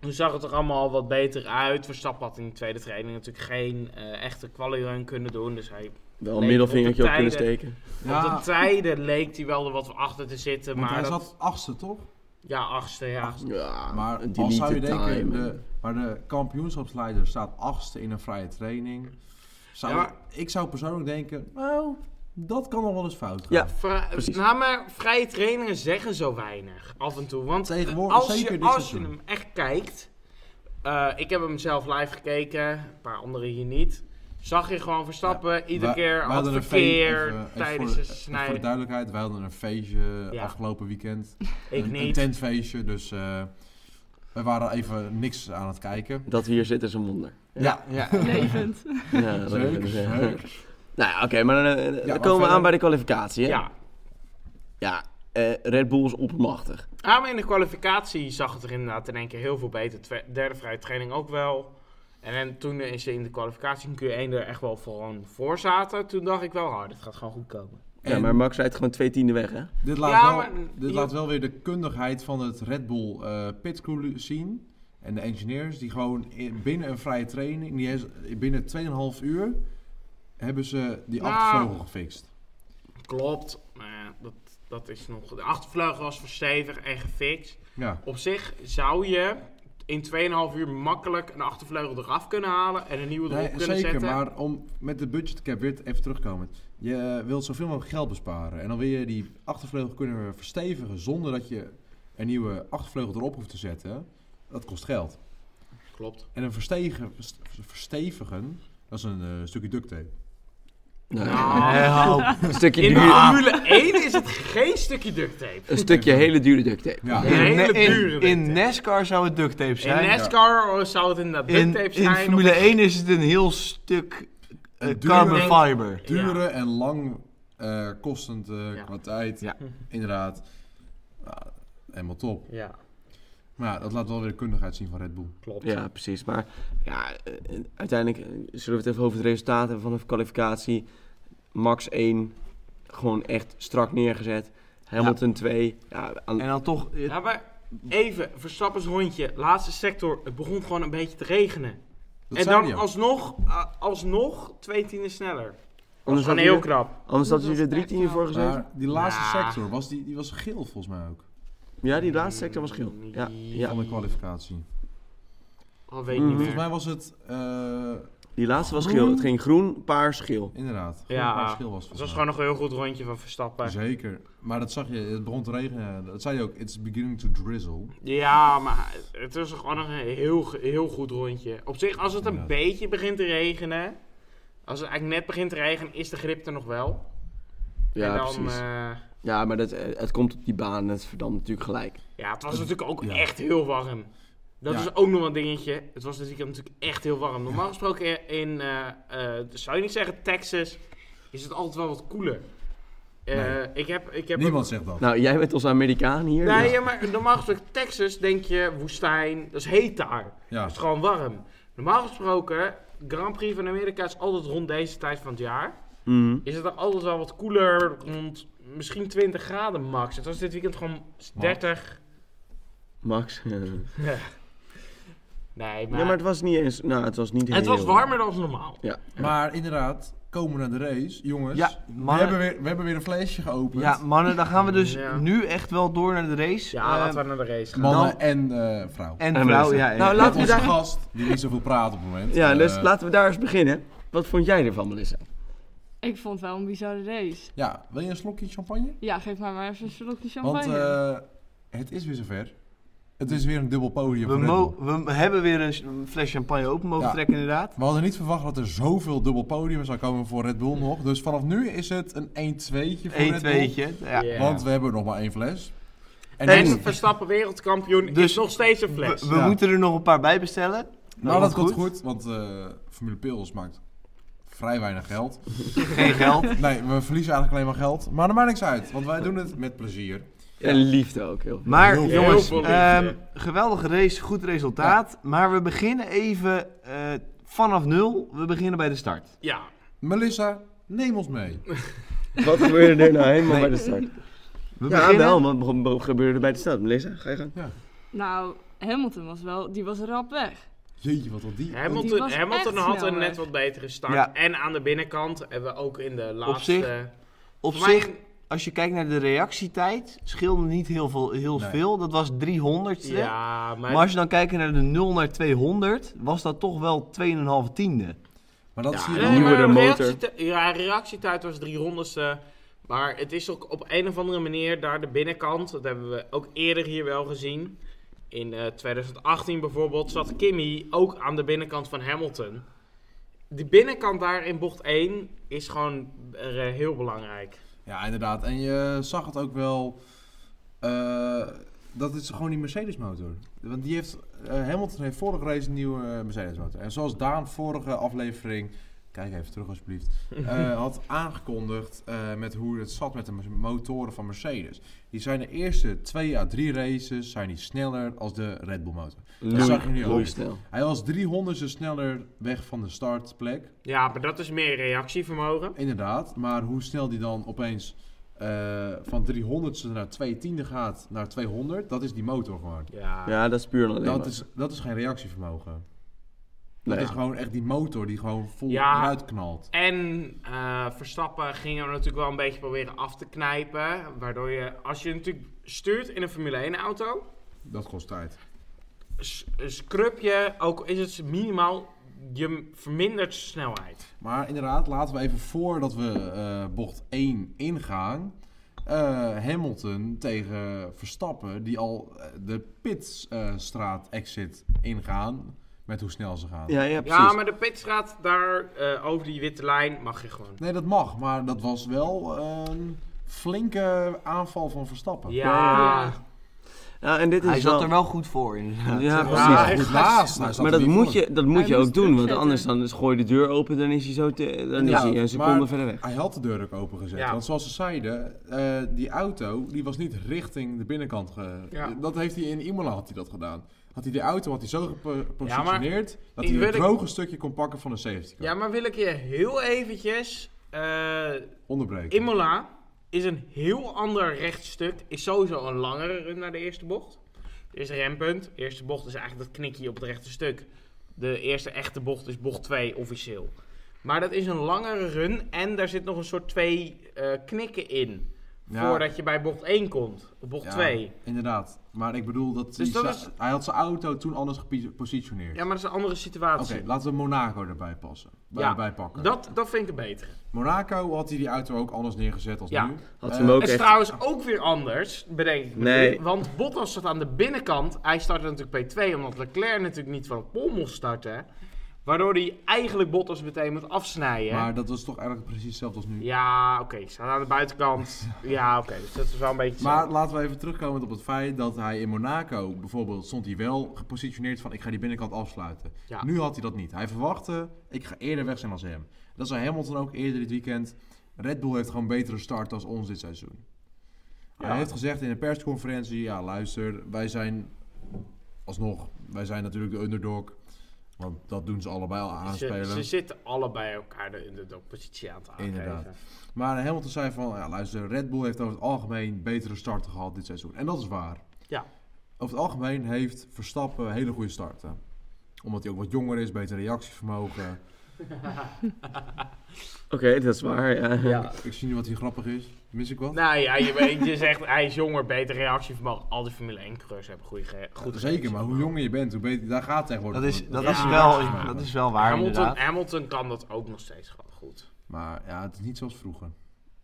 D: Nu zag het er allemaal wat beter uit. Verstappen had in de tweede training natuurlijk geen eh, echte quali-run kunnen doen. Dus hij,
E: Wel een
D: Nee,
E: middelvingertje
D: op
E: op,
D: de
E: kunnen
D: tijden.
E: steken.
D: op de tijden leek hij wel er wat achter te zitten.
C: want
D: eh, Maar
C: hij
D: dat-
C: zat achtste toch?
D: Ja, achtste, ja.
E: Ja,
C: Maar
E: Ah, een
C: als zou je
E: deleted
C: denken, eh,
E: time.
C: de, maar de kampioenschapsleider staat achtste in een vrije training. Zou,
D: Ja, maar-
C: Ik zou persoonlijk denken, nou, dat kan nog wel eens fout gaan.
E: Ja.
D: Vra-
E: Precies.
D: nou, maar vrije trainingen zeggen zo weinig af en toe. Want
C: Tegenwoordig,
D: als,
C: zeker
D: je,
C: dit
D: als je
C: seizoen.
D: hem echt kijkt. eh, ik heb hem zelf live gekeken, een paar anderen hier niet. Zag je gewoon verstappen, iedere
C: Wij-
D: keer
C: wij
D: had
C: hadden een
D: verkeer
C: feest- even- even
D: tijdens
C: voor,
D: de
C: even Voor de
D: snijden.
C: duidelijkheid, wij hadden een feestje
D: Ja.
C: afgelopen weekend.
D: Ik
C: een,
D: niet.
C: Een tentfeestje, dus eh, we waren even niks aan het kijken.
E: Dat we hier zitten is een wonder.
A: Ja, ja.
C: (laughs)
B: Levend.
E: Ja, dat
C: Leuk,
E: wil ik zeggen.
C: leuk.
E: Nou ja, oké, maar dan, eh, dan
C: maar
E: komen we
C: verder-
E: aan bij de kwalificatie. Hè?
D: ja,
E: Ja, eh, Red Bull is oppermachtig.
D: Ja, Ah, maar in de kwalificatie zag het er inderdaad in één keer heel veel beter. Twe- derde vrije training ook wel. En, en toen is ze in de kwalificatie in Q1 er echt wel gewoon voor zaten. Toen dacht ik wel, oh, dit gaat gewoon goed komen.
E: Ja,
C: En-
E: maar Max rijdt gewoon twee tienden weg, hè?
C: Dit laat,
D: Ja,
C: wel,
D: maar-
C: dit
D: je-
C: laat wel weer de kundigheid van het Red Bull eh, pitcrew zien. En de engineers die gewoon in- binnen een vrije training, die is, binnen 2,5 uur, hebben ze die
D: Nou.
C: achtervleugel gefixt.
D: Klopt, maar ja, dat, dat is nog... De achtervleugel was verstevigd en gefixt.
C: Ja,
D: Op zich zou je in 2,5 uur makkelijk een achtervleugel eraf kunnen halen en een nieuwe erop
C: Nee,
D: kunnen
C: zeker,
D: zetten.
C: maar om met de budgetcap weer te- even terugkomen. Je eh, wilt zoveel mogelijk geld besparen. En dan wil je die achtervleugel kunnen verstevigen zonder dat je een nieuwe achtervleugel erop hoeft te zetten. Dat kost geld.
D: Klopt.
C: En een verstegen, verst- verstevigen, dat is een eh, stukje duct tape.
E: Nou,
A: Eh,
D: Nou,
E: Een stukje,
D: in de
E: duur-
D: Formule 1 is het geen stukje duct tape.
E: een stukje hele dure duct tape.
C: Ja.
D: Een hele
A: in,
D: dure
A: in, in
D: witte.
A: NASCAR zou het duct tape
D: In
A: zijn.
D: NASCAR zou het inderdaad duct
A: in,
D: tape
A: in
D: zijn. of
A: Formule 1 is het een heel stuk eh,
C: Een dure-
A: carbon fiber.
C: Dure en lang eh, kostend eh,
D: Ja.
C: qua tijd.
A: Ja.
C: Inderdaad. Ja, helemaal top.
D: Ja,
C: Maar ja, dat laat wel weer de kundigheid zien van Red Bull.
D: klopt.
E: Ja, precies. Maar ja, eh, uiteindelijk eh, zullen we het even over het resultaat hebben van de kwalificatie. Max 1, gewoon echt strak neergezet. Hamilton 2. Ja, aan-
A: En dan toch... eh,
D: Ja, maar even, Verstappens rondje, laatste sector, het begon gewoon een beetje te regenen.
C: Dat
D: en
C: zei
D: dan
C: hij ook.
D: alsnog, a- alsnog twee tienden sneller. Dat is
E: anders had
D: gewoon
E: hij
D: heel
E: er,
D: knap.
E: anders had hij
B: Dat
E: er
B: was
E: drie
B: echt
E: tienen
B: knap.
E: voor gezeten.
C: Maar die laatste
D: Ja.
C: sector, was die, die was geel volgens mij ook.
E: Ja, die laatste sector was geel.
D: Mm,
E: Ja,
C: Van
E: ja.
C: de kwalificatie.
D: Dat weet ik
E: Mhm.
D: niet
C: Volgens
D: meer.
C: mij was het, eh,
E: Die laatste was geel. Het ging groen, paars, geel.
C: inderdaad, gewoon
D: Ja.
C: een paar schil was
D: Het
C: volgens
D: was
C: mij.
D: gewoon nog een heel goed rondje van Verstappen.
C: Zeker. Maar dat zag je, het begon te regenen. Dat zei je ook, it's beginning to drizzle.
D: Ja, maar het was gewoon nog een heel, ge- heel goed rondje. Op zich, als het een
C: Ja.
D: beetje begint te regenen, als het eigenlijk net begint te regenen, is de grip er nog wel. en
E: Ja,
D: dan,
E: precies.
D: eh,
E: Ja, maar dat, eh, het komt op die baan en het verdampt natuurlijk gelijk.
D: ja, het was natuurlijk ook
C: Ja.
D: echt heel warm. Dat
C: Ja.
D: is ook nog een dingetje. Het was dit weekend natuurlijk echt heel warm. Normaal gesproken in, eh, eh, zou je niet zeggen Texas, is het altijd wel wat koeler. Eh,
C: Nee.
D: ik heb, ik heb
C: Niemand zegt dat.
E: Nou, jij bent onze Amerikaan hier.
D: Nee,
E: Ja.
D: ja, maar normaal gesproken Texas denk je woestijn, dat is heet daar.
C: Ja,
D: Het is gewoon warm. Normaal gesproken, Grand Prix van Amerika is altijd rond deze tijd van het jaar.
E: Mhm.
D: Is het dan altijd wel wat koeler, rond misschien 20 graden max. Het was dit weekend gewoon 30.
E: Max. eh.
D: Nee, maar,
E: Ja, maar het was niet eens. Nou, het was niet
D: het
E: heel-
D: was warmer dan normaal.
E: Ja.
C: maar inderdaad, komen we naar de race, jongens.
A: Ja,
C: we, hebben
A: mannen,
C: weer, we hebben weer een flesje geopend.
A: ja, mannen, dan gaan we dus
D: Ja.
A: nu echt wel door naar de race.
D: Ja,
A: Eh,
D: laten we naar de race gaan.
C: Mannen
A: Nou-
C: en eh vrouw.
A: En
E: En
A: vrouw,
E: Melissa.
A: ja. ja.
E: Nou,
C: Met
E: laten we
C: onze
E: daar...
C: gast, die niet zoveel praat op het moment.
E: Ja, dus
C: Eh,
E: laten we daar eens beginnen. Wat vond jij ervan, Melissa?
B: Ik vond het wel een bizarre race.
C: Ja, wil je een slokje champagne?
B: Ja, geef mij maar even een slokje
C: Want
B: champagne.
C: eh, het is weer zover. Het is weer een dubbel podium
A: we,
C: voor Red Bull.
A: mo- we hebben weer een ch- een fles champagne open mogen
C: Ja.
A: trekken, inderdaad.
C: We hadden niet verwacht dat er zoveel dubbel podium zou komen voor Red Bull nog. Dus vanaf nu is het een 1-2'tje voor
A: Eén
C: Red Bull.
A: tweetje. Ja.
D: Ja.
C: Want we hebben nog maar één fles. En
D: En
C: nu-
D: Verstappen wereldkampioen
A: Dus-
D: is nog steeds een
A: We,
D: fles.
A: we
C: Ja.
A: moeten er nog een paar bij bestellen.
C: maar Nou, dat komt goed, want eh, Formule Pils maakt vrij weinig geld. (laughs)
A: Geen geld.
D: (laughs)
C: Nee, we verliezen eigenlijk alleen maar geld. Maar dat maakt niks uit, want wij doen het met plezier.
E: En liefde ook heel veel.
A: Maar
C: Heel veel.
A: jongens,
D: Heel veel
A: ehm,
D: liefde.
A: geweldige race, goed resultaat. Maar we beginnen even eh, vanaf nul. We beginnen bij de start.
D: Ja,
C: Melissa, neem ons mee.
E: Wat gebeurde er nou helemaal
A: Nee.
E: bij de start?
A: We
E: ja,
A: beginnen...
E: wel, wat begon- be- gebeurde er bij de start? Melissa, ga je gang.
B: Nou, Hamilton was wel, die was rap weg.
C: Jeetje, wat al die...
B: Die
D: Hamilton,
B: was
D: Hamilton
B: echt
D: had
B: snel
D: een net
B: weg.
D: wat betere start.
A: Ja.
D: En aan de binnenkant hebben we ook in de laatste...
A: zich, Op
D: Voor mij-
A: zich, als je kijkt naar de reactietijd, scheelde niet heel, veel, heel
C: Nee.
A: veel. Dat was 300ste.
D: Ja,
A: Maar als je dan kijkt naar de 0 naar 200, was dat toch wel 2,5 tiende.
C: Maar dat
E: Ja,
C: zie je
E: eh,
C: dan...
E: Nieuwe
D: maar
E: motor.
D: reactieti- ja, reactietijd was 300ste. Maar het is ook op een of andere manier daar de binnenkant. Dat hebben we ook eerder hier wel gezien. In eh, 2018 bijvoorbeeld zat Kimmy ook aan de binnenkant van Hamilton. Die binnenkant daar in bocht 1 is gewoon eh, heel belangrijk.
C: Ja, inderdaad. En je zag het ook wel... eh, dat is gewoon die Mercedes-motor. Want die heeft... eh, Hamilton heeft vorige race een nieuwe eh, Mercedes-motor. En zoals Daan vorige aflevering... Kijk even terug alsjeblieft. eh, had aangekondigd eh, met hoe het zat met de motoren van Mercedes. Die zijn de eerste twee à drie races zijn die sneller als de Red Bull motor.
E: Loei-
C: zag je nu ook.
E: loeisnel.
C: Hij was 300ste sneller weg van de startplek.
D: Ja, maar dat is meer reactievermogen.
C: Inderdaad, maar hoe snel die dan opeens eh, van 300ste naar 210 gaat naar 200, dat is die motor gewoon.
D: Ja,
E: Ja, dat is puur en alleen
C: Dat
E: maar.
C: is, dat is geen reactievermogen.
E: Nee.
C: Dat is gewoon echt die motor die gewoon vol
D: Ja.
C: eruit knalt.
D: En eh, Verstappen ging hem natuurlijk wel een beetje proberen af te knijpen. Waardoor je, als je natuurlijk stuurt in een Formule 1 auto,
C: Dat kost tijd.
D: s- scrub je, ook is het minimaal, je m- vermindert snelheid.
C: Maar inderdaad, laten we even voordat we eh, bocht 1 ingaan. eh, Hamilton tegen Verstappen, die al eh, de pitstraat-exit ingaan. Met hoe snel ze gaan.
E: Ja, ja, precies.
D: Ja, maar de pitstraat daar eh, over die witte lijn mag je gewoon.
C: Nee, dat mag, maar dat was wel een flinke aanval van Verstappen.
D: Ja,
E: Ja, en dit is
A: Hij
E: wel...
A: zat er wel goed voor, inderdaad.
E: Ja,
C: Hij
E: precies.
C: was
D: Ja,
C: goed
D: hij gaat-
C: laatst. Hij zat
E: maar
C: er
E: dat
C: niet
E: moet,
C: voor.
E: je, dat moet
B: Hij
E: je
B: moest
E: ook doen, want
B: druk
E: anders
B: zetten.
E: dan is, gooi je de deur open, dan is hij zo te, dan
C: Ja,
E: is hij een seconde
C: maar-
E: verder weg.
C: Hij had de deur ook open gezet.
D: Ja.
C: Want zoals ze zeiden, eh, die auto die was niet richting de binnenkant. Ge...
D: Ja.
C: Dat heeft hij in Imola had hij dat gedaan. Had hij de auto had hij zo gepositioneerd dat
D: ik
C: hij
D: wil-
C: het droge stukje kon pakken van de safety car.
D: ja maar wil ik je heel eventjes... eh
C: Onderbreken.
D: Imola, is een heel ander rechtstuk. Is sowieso een langere run naar de eerste bocht. Er is rempunt. De eerste bocht is eigenlijk dat knikje op het rechte stuk. De eerste echte bocht is bocht 2 officieel. Maar dat is een langere run en daar zit nog een soort twee eh, knikken in.
C: Ja.
D: Voordat je bij bocht 1 komt. Of bocht
C: Ja,
D: 2.
C: Inderdaad. Maar ik bedoel dat,
D: Dus
C: hij,
D: dat
C: sa- hij had zijn auto toen anders gepositioneerd.
D: Ja, maar dat is een andere
C: Oké,
D: situatie.
C: laten we Monaco erbij passen. Bij,
D: Ja,
C: pakken.
D: Dat, dat vind ik een betere.
C: Monaco had hij die auto ook anders neergezet als
D: Ja.
C: nu.
E: Had
C: Eh,
E: ze hem ook
D: Het is
E: echt...
D: trouwens ook weer anders, bedenk ik me
E: Nee.
D: nu, Want Bottas zat aan de binnenkant. Hij startte natuurlijk P2, omdat Leclerc natuurlijk niet van het pol mocht starten. Waardoor hij eigenlijk Bottas meteen moet afsnijden.
C: Maar dat was toch eigenlijk precies hetzelfde als nu.
D: Ja, oké. hij staat aan de
C: (laughs)
D: buitenkant. ja, oké. dus dat is wel een beetje
C: Maar
D: zo.
C: laten we even terugkomen op het feit dat hij in Monaco bijvoorbeeld stond hij wel gepositioneerd van ik ga die binnenkant afsluiten.
D: Ja.
C: Nu had hij dat niet. Hij verwachtte ik ga eerder weg zijn als hem. Dat zei Hamilton ook eerder dit weekend. Red Bull heeft gewoon betere start als ons dit seizoen.
D: Ja.
C: Hij heeft gezegd in een persconferentie, ja luister, wij zijn alsnog, wij zijn natuurlijk de underdog. Want dat doen ze allebei al
D: ze,
C: aanspelen.
D: ze zitten allebei elkaar de, de, de positie aan te aangeven.
C: Inderdaad. Maar Hamilton zei van, ja, luister, Red Bull heeft over het algemeen betere starten gehad dit seizoen. En dat is waar.
D: Ja.
C: Over het algemeen heeft Verstappen hele goede starten. Omdat hij ook wat jonger is, beter reactievermogen.
E: Oké, dat is waar, ja.
C: Ik zie nu wat hier grappig is. Mis ik wat?
D: Nou ja, je, weet- je zegt hij is jonger, beter reactievermogen. Al die Formule 1 coureurs hebben goede ge- goed
C: Zeker, maar hoe jonger je bent, hoe beter... Daar gaat het tegenwoordig
A: Dat is,
C: om.
A: dat,
D: Ja.
A: is wel, dat is wel waar,
D: Hamilton,
A: inderdaad. Nou,
D: Hamilton kan dat ook nog steeds gewoon goed.
C: Maar ja, het is niet zoals vroeger.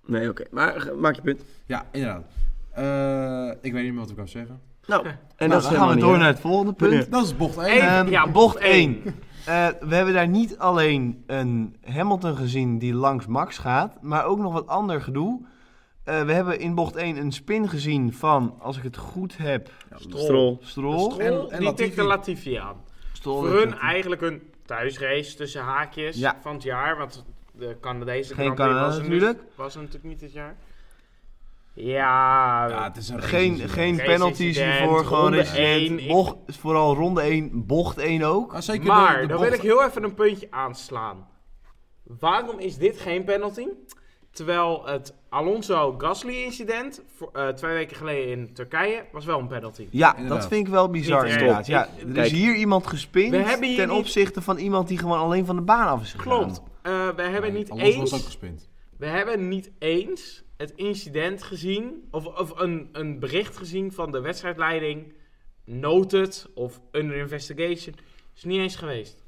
E: Nee, oké. Maar ge- maak je punt.
C: Ja, inderdaad. Eh, ik weet niet meer wat ik kan zeggen.
E: Nou, en
A: En
E: dat
A: dan
E: is
A: gaan
E: helemaal
A: we
E: niet
A: door
E: erg.
A: naar het volgende punt.
C: Dat is bocht 1.
D: Eén.
A: Ehm,
D: ja,
A: bocht
D: bocht
A: 1.
D: één.
A: Eh, we hebben daar niet alleen een Hamilton gezien die langs Max gaat, maar ook nog wat ander gedoe. Eh, we hebben in bocht 1 een spin gezien van, als ik het goed heb,
D: Stroll.
E: Strol.
A: Stroll.
D: Stroll,
C: En- en
D: die
C: Latifi.
D: tikte Latifi aan.
A: Stroll
D: Voor
A: dat-
D: hun eigenlijk een thuisrace tussen haakjes
A: Ja.
D: van het jaar. Want de Canadese
A: Geen
D: Grand Prix
A: Canada
D: was er nu-
A: natuurlijk.
D: was er natuurlijk niet dit jaar. Ja,
C: Ja, het is een
A: Geen,
C: race.
A: geen
D: Race
A: penalties
D: incident,
A: hiervoor, gewoon
D: ronde
A: incident.
D: één, ik-
A: Bocht, vooral ronde 1, bocht 1 ook.
C: Ah, zeker de-
D: maar
C: de
D: dan
C: bocht-
D: wil ik heel even een puntje aanslaan. Waarom is dit geen penalty? Terwijl het Alonso-Gasly-incident voor- eh, twee weken geleden in Turkije was wel een penalty.
A: Ja,
C: Inderdaad.
A: dat vind ik wel bizar
D: Niet erg.
A: inderdaad. Ja,
D: Ik-
A: er
E: kijk,
A: is hier iemand gespind
D: we hebben hier
A: ten
D: niet-
A: opzichte van iemand die gewoon alleen van de baan af is gegaan.
D: Klopt. Eh, we hebben niet
C: Alonso was ook
D: eens
C: gespind.
D: We hebben niet eens het incident gezien, of, of een, een bericht gezien van de wedstrijdleiding. Noted of under investigation. Is niet eens geweest.